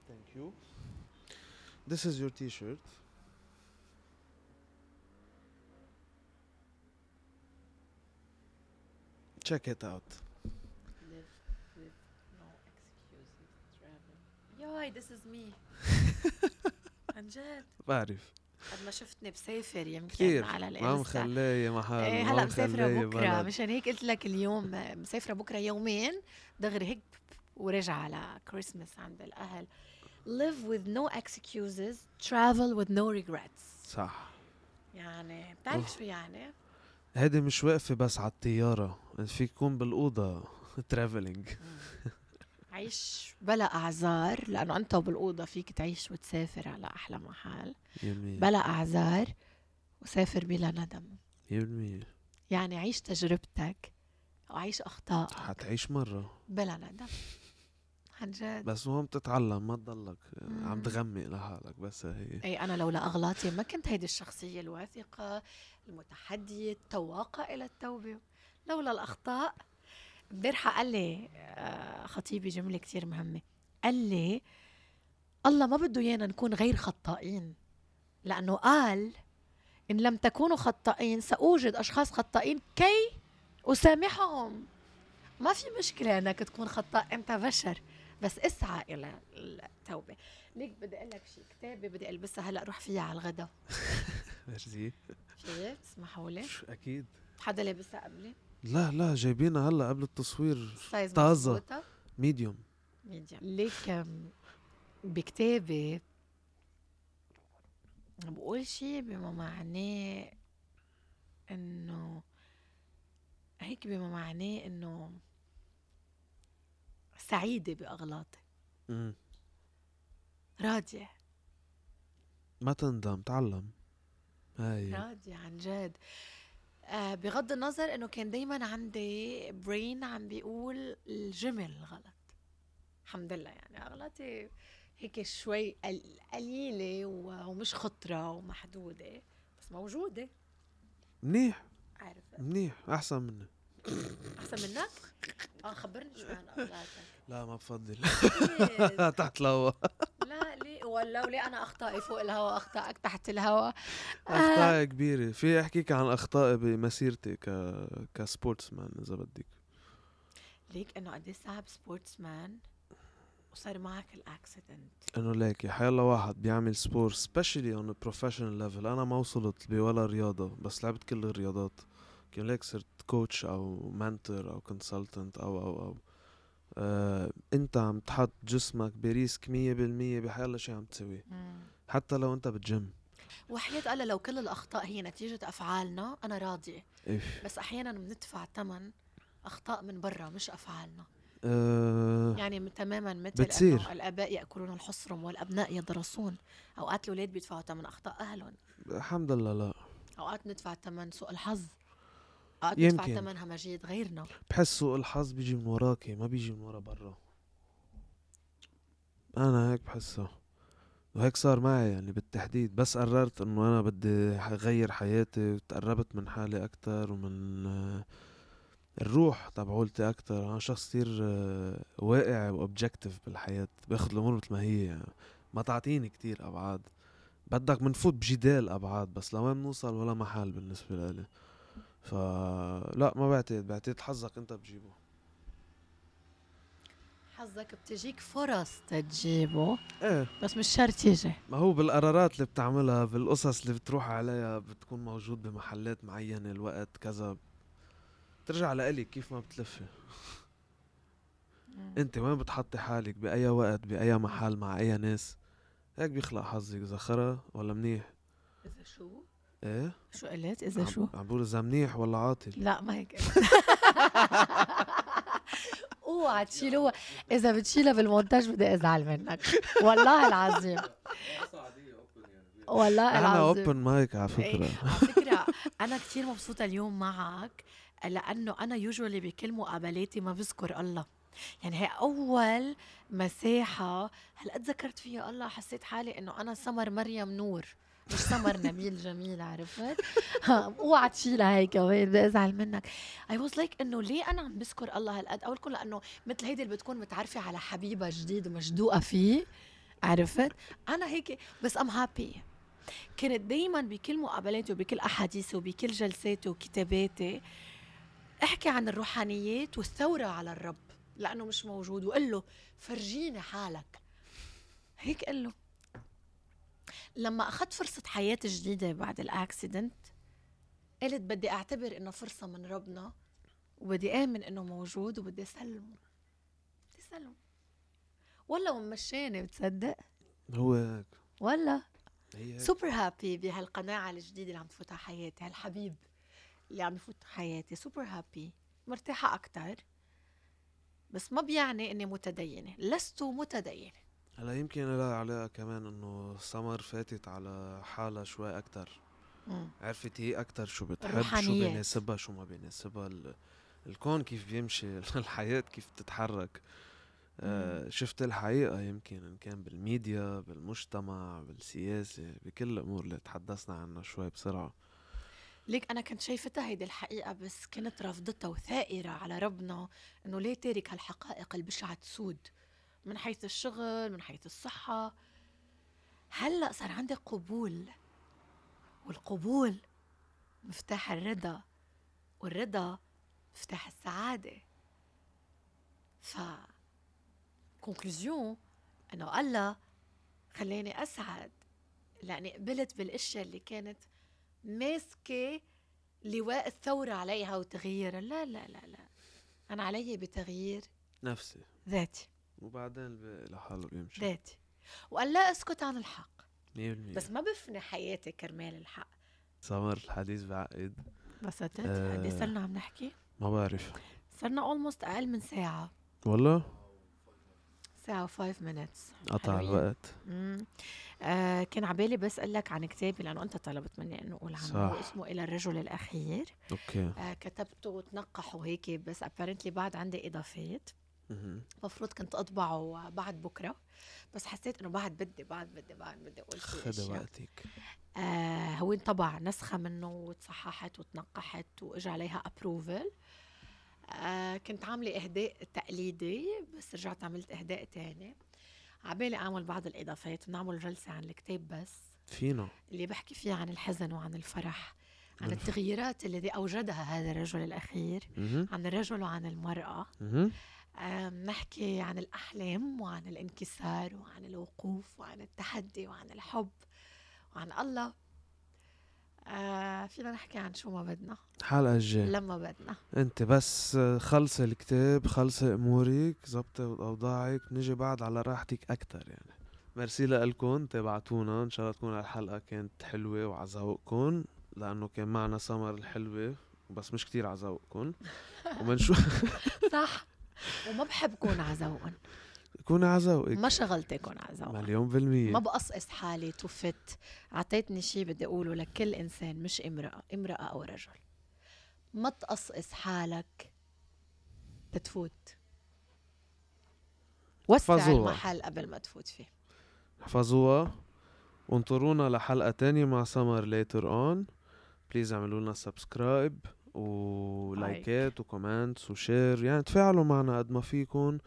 A: ثانك يو This is your t-shirt check it out
B: ياي ذس از مي عن جد
A: بعرف
B: قد ما شفتني بسافر يمكن
A: كثير
B: على
A: ما
B: الانستا
A: مخليه محل
B: ايه
A: ما
B: هلا مسافرة
A: مخليه
B: بكره
A: بلد.
B: مشان هيك قلت لك اليوم مسافرة بكره يومين دغري هيك وراجعة على كريسمس عند الاهل live with no excuses travel with no regrets
A: صح
B: يعني
A: أوف.
B: بتعرف شو يعني
A: هيدي مش واقفة بس على الطيارة في يكون بالأوضة ترافلينج
B: عيش بلا اعذار لانه انت وبالاوضه فيك تعيش وتسافر على احلى محل
A: يمين
B: بلا اعذار وسافر بلا ندم
A: يمين
B: يعني عيش تجربتك وعيش اخطائك
A: حتعيش مرة
B: بلا ندم عن جد
A: بس مهم تتعلم ما تضلك آه، عم
B: مم.
A: تغمق لحالك بس هي
B: اي انا لولا اغلاطي ما كنت هيدي الشخصيه الواثقه المتحديه التواقه الى التوبه لولا الاخطاء امبارحه قال لي آه، خطيبي جمله كثير مهمه قال لي الله ما بده ايانا نكون غير خطائين لانه قال ان لم تكونوا خطائين ساوجد اشخاص خطائين كي اسامحهم ما في مشكله انك تكون خطاء انت بشر بس اسعى الى التوبه ليك بدي اقول لك شيء كتابه بدي البسها هلا روح فيها على الغدا
A: ميرسي
B: في تسمحوا لي
A: شو أكيد
B: حدا لابسها قبلي
A: لا لا جايبينها هلا قبل التصوير
B: سايز
A: طازة.
B: مظبوطة؟
A: ميديوم
B: ميديم ليك أم، بكتابي بقول شيء بما معناه انه هيك بما معناه انه سعيدة بأغلاطي
A: مم.
B: راضية
A: ما تندم تعلم هاي
B: راضية عن جد آه بغض النظر انه كان دايما عندي برين عم بيقول الجمل غلط الحمد لله يعني اغلاطي هيك شوي قل- قليلة و- ومش خطرة ومحدودة بس موجودة
A: منيح
B: عارفة
A: منيح أحسن مني
B: احسن منك؟ اه خبرني شو عن اخلاقك
A: لا ما بفضل
B: ليه؟
A: تحت الهوا
B: آه. لا ليه ولا وليه انا اخطائي فوق الهواء اخطائك تحت الهواء
A: اخطاء كبيره في احكيك عن اخطائي بمسيرتي ك كسبورتس مان اذا بدك
B: ليك انه قد ايه صعب سبورتس مان وصار معك الاكسيدنت
A: انه ليك حيلا واحد بيعمل سبور سبيشلي اون بروفيشنال ليفل انا ما وصلت بولا رياضه بس لعبت كل الرياضات كان ليك صرت كوتش او منتور او كونسلتنت او او او آه، انت عم تحط جسمك بريسك 100% بحيلا شي عم تسويه حتى لو انت بالجيم
B: وحياة الله لو كل الاخطاء هي نتيجه افعالنا انا راضيه
A: إيه.
B: بس احيانا بندفع ثمن اخطاء من برا مش افعالنا
A: آه،
B: يعني م- تماما مثل
A: بتصير.
B: انه الاباء ياكلون الحصرم والابناء يدرسون اوقات الاولاد بيدفعوا ثمن اخطاء اهلهم
A: الحمد لله لا
B: اوقات ندفع ثمن سوء الحظ اوقات ندفع
A: يمكن.
B: ثمن همجيه غيرنا
A: بحس سوء الحظ بيجي من وراكي ما بيجي من ورا برا انا هيك بحسه وهيك صار معي يعني بالتحديد بس قررت انه انا بدي ح- غير حياتي وتقربت من حالي اكتر ومن آه، الروح تبعولتي اكتر انا شخص كتير آه، واقع واوبجكتيف بالحياة باخد الامور مثل ما هي يعني ما تعطيني كتير ابعاد بدك منفوت بجدال ابعاد بس لوين بنوصل ولا محل بالنسبة لإلي فلا ما بعتقد بعتقد حظك انت بتجيبه
B: حظك بتجيك فرص تجيبه
A: ايه
B: بس مش شرط يجي
A: ما هو بالقرارات اللي بتعملها بالقصص اللي بتروح عليها بتكون موجود بمحلات معينة الوقت كذا بترجع لإلك كيف ما بتلفي انت وين بتحطي حالك بأي وقت بأي محل مع أي ناس هيك بيخلق حظك إذا خرا ولا منيح
B: اذا شو
A: ايه
B: شو قلت اذا
A: عم-
B: شو
A: عم بقول إذا منيح ولا عاطل
B: لا ما هيك اوعى تشيلوها اذا بتشيلها بالمونتاج بدي ازعل منك والله العظيم والله
A: أنا
B: العظيم
A: أوبن مايك على
B: إيه،
A: فكرة
B: على فكره انا كثير مبسوطه اليوم معك لانه انا يوجوالي بكل مقابلاتي ما بذكر الله يعني هي اول مساحه هلا اتذكرت فيها الله حسيت حالي انه انا سمر مريم نور مش سمر نبيل جميل عرفت ها، اوعى تشيلها هي كمان بدي ازعل منك اي واز لايك انه ليه انا عم بذكر الله هالقد اول كل لانه مثل هيدي اللي بتكون متعرفه على حبيبها جديد ومشدوقه فيه عرفت انا هيك بس ام هابي كنت دايما بكل مقابلاتي وبكل احاديثي وبكل جلساتي وكتاباتي احكي عن الروحانيات والثوره على الرب لانه مش موجود وقل له فرجيني حالك هيك قل له لما اخذت فرصه حياه جديده بعد الاكسيدنت قلت بدي اعتبر انه فرصه من ربنا وبدي امن انه موجود وبدي اسلمه بدي اسلمه ولا ومشاني بتصدق
A: هو هيك
B: ولا
A: هي هيك
B: سوبر هابي بهالقناعة الجديدة اللي عم تفوت على حياتي هالحبيب اللي عم يفوت على حياتي سوبر هابي مرتاحة أكتر بس ما بيعني إني متدينة لست متدينة
A: هلا يمكن لها علاقة كمان إنه سمر فاتت على حالها شوي أكتر عرفت هي اكتر شو بتحب شو
B: الروحانيات.
A: بيناسبها شو ما بيناسبها ال- الكون كيف بيمشي الحياة كيف بتتحرك آه شفت الحقيقة يمكن إن كان بالميديا بالمجتمع بالسياسة بكل الأمور اللي تحدثنا عنها شوي بسرعة
B: ليك أنا كنت شايفتها هيدي الحقيقة بس كنت رافضتها وثائرة على ربنا إنه ليه تارك هالحقائق البشعة تسود من حيث الشغل من حيث الصحة هلأ صار عندي قبول والقبول مفتاح الرضا والرضا مفتاح السعادة ف كونكلوزيون انه الله خلاني اسعد لاني قبلت بالاشياء اللي كانت ماسكه لواء الثوره عليها وتغييرها لا لا لا لا انا علي بتغيير
A: نفسي
B: ذاتي
A: وبعدين الباقي لحاله بيمشي
B: ذاتي وأن لا اسكت عن الحق
A: 100%
B: بس ما بفني حياتي كرمال الحق
A: سمر الحديث بعقد
B: بس قد
A: آه.
B: ايه صرنا عم نحكي
A: ما بعرف
B: صرنا اولموست اقل من ساعه
A: والله
B: ساعة و5 minutes
A: قطع
B: حلوين.
A: الوقت
B: مم. آه كان عبالي بس اقول لك عن كتابي لانه انت طلبت مني انه اقول عنه
A: صح.
B: هو اسمه الى الرجل الاخير
A: اوكي
B: آه كتبته وتنقح وهيك بس ابارنتلي بعد عندي اضافات
A: مهم.
B: المفروض كنت اطبعه بعد بكره بس حسيت انه بعد بدي بعد بدي بعد بدي اقول شي
A: خذ
B: أشياء.
A: وقتك
B: آه هو انطبع نسخة منه وتصححت وتنقحت واجى عليها ابروفل آه كنت عاملة إهداء تقليدي بس رجعت عملت إهداء تاني عبالي أعمل بعض الإضافات بنعمل جلسة عن الكتاب بس
A: فينا
B: اللي بحكي فيها عن الحزن وعن الفرح عن
A: مم.
B: التغييرات الذي أوجدها هذا الرجل الأخير
A: مهم.
B: عن الرجل وعن المرأة
A: مهم.
B: آه، بنحكي عن الأحلام وعن الانكسار وعن الوقوف وعن التحدي وعن الحب وعن الله آه فينا نحكي عن شو ما بدنا
A: الحلقه الجايه
B: لما بدنا
A: انت بس خلصي الكتاب خلصي امورك ظبطي اوضاعك نجي بعد على راحتك اكثر يعني ميرسي لكم تابعتونا ان شاء الله تكون الحلقه كانت حلوه وعلى ذوقكم لانه كان معنا سمر الحلوه بس مش كتير على ذوقكم ومنشوف
B: صح وما بحب كون على ذوقن
A: كوني على ذوقك
B: ما شغلتي كون على ذوقن
A: مليون
B: ما
A: بالمية
B: بقصقص حالي توفت عطيتني شيء بدي اقوله لكل انسان مش امراه امراه او رجل ما تقصقص حالك تتفوت وسع
A: احفظوها.
B: المحل قبل ما تفوت فيه
A: احفظوها وانطرونا لحلقه تانية مع سمر ليتر اون بليز اعملوا لنا سبسكرايب ولايكات وكومنتس وشير يعني تفاعلوا معنا قد ما فيكم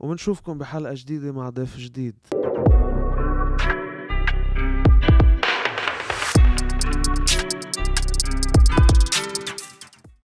A: وبنشوفكم بحلقه جديده مع ضيف جديد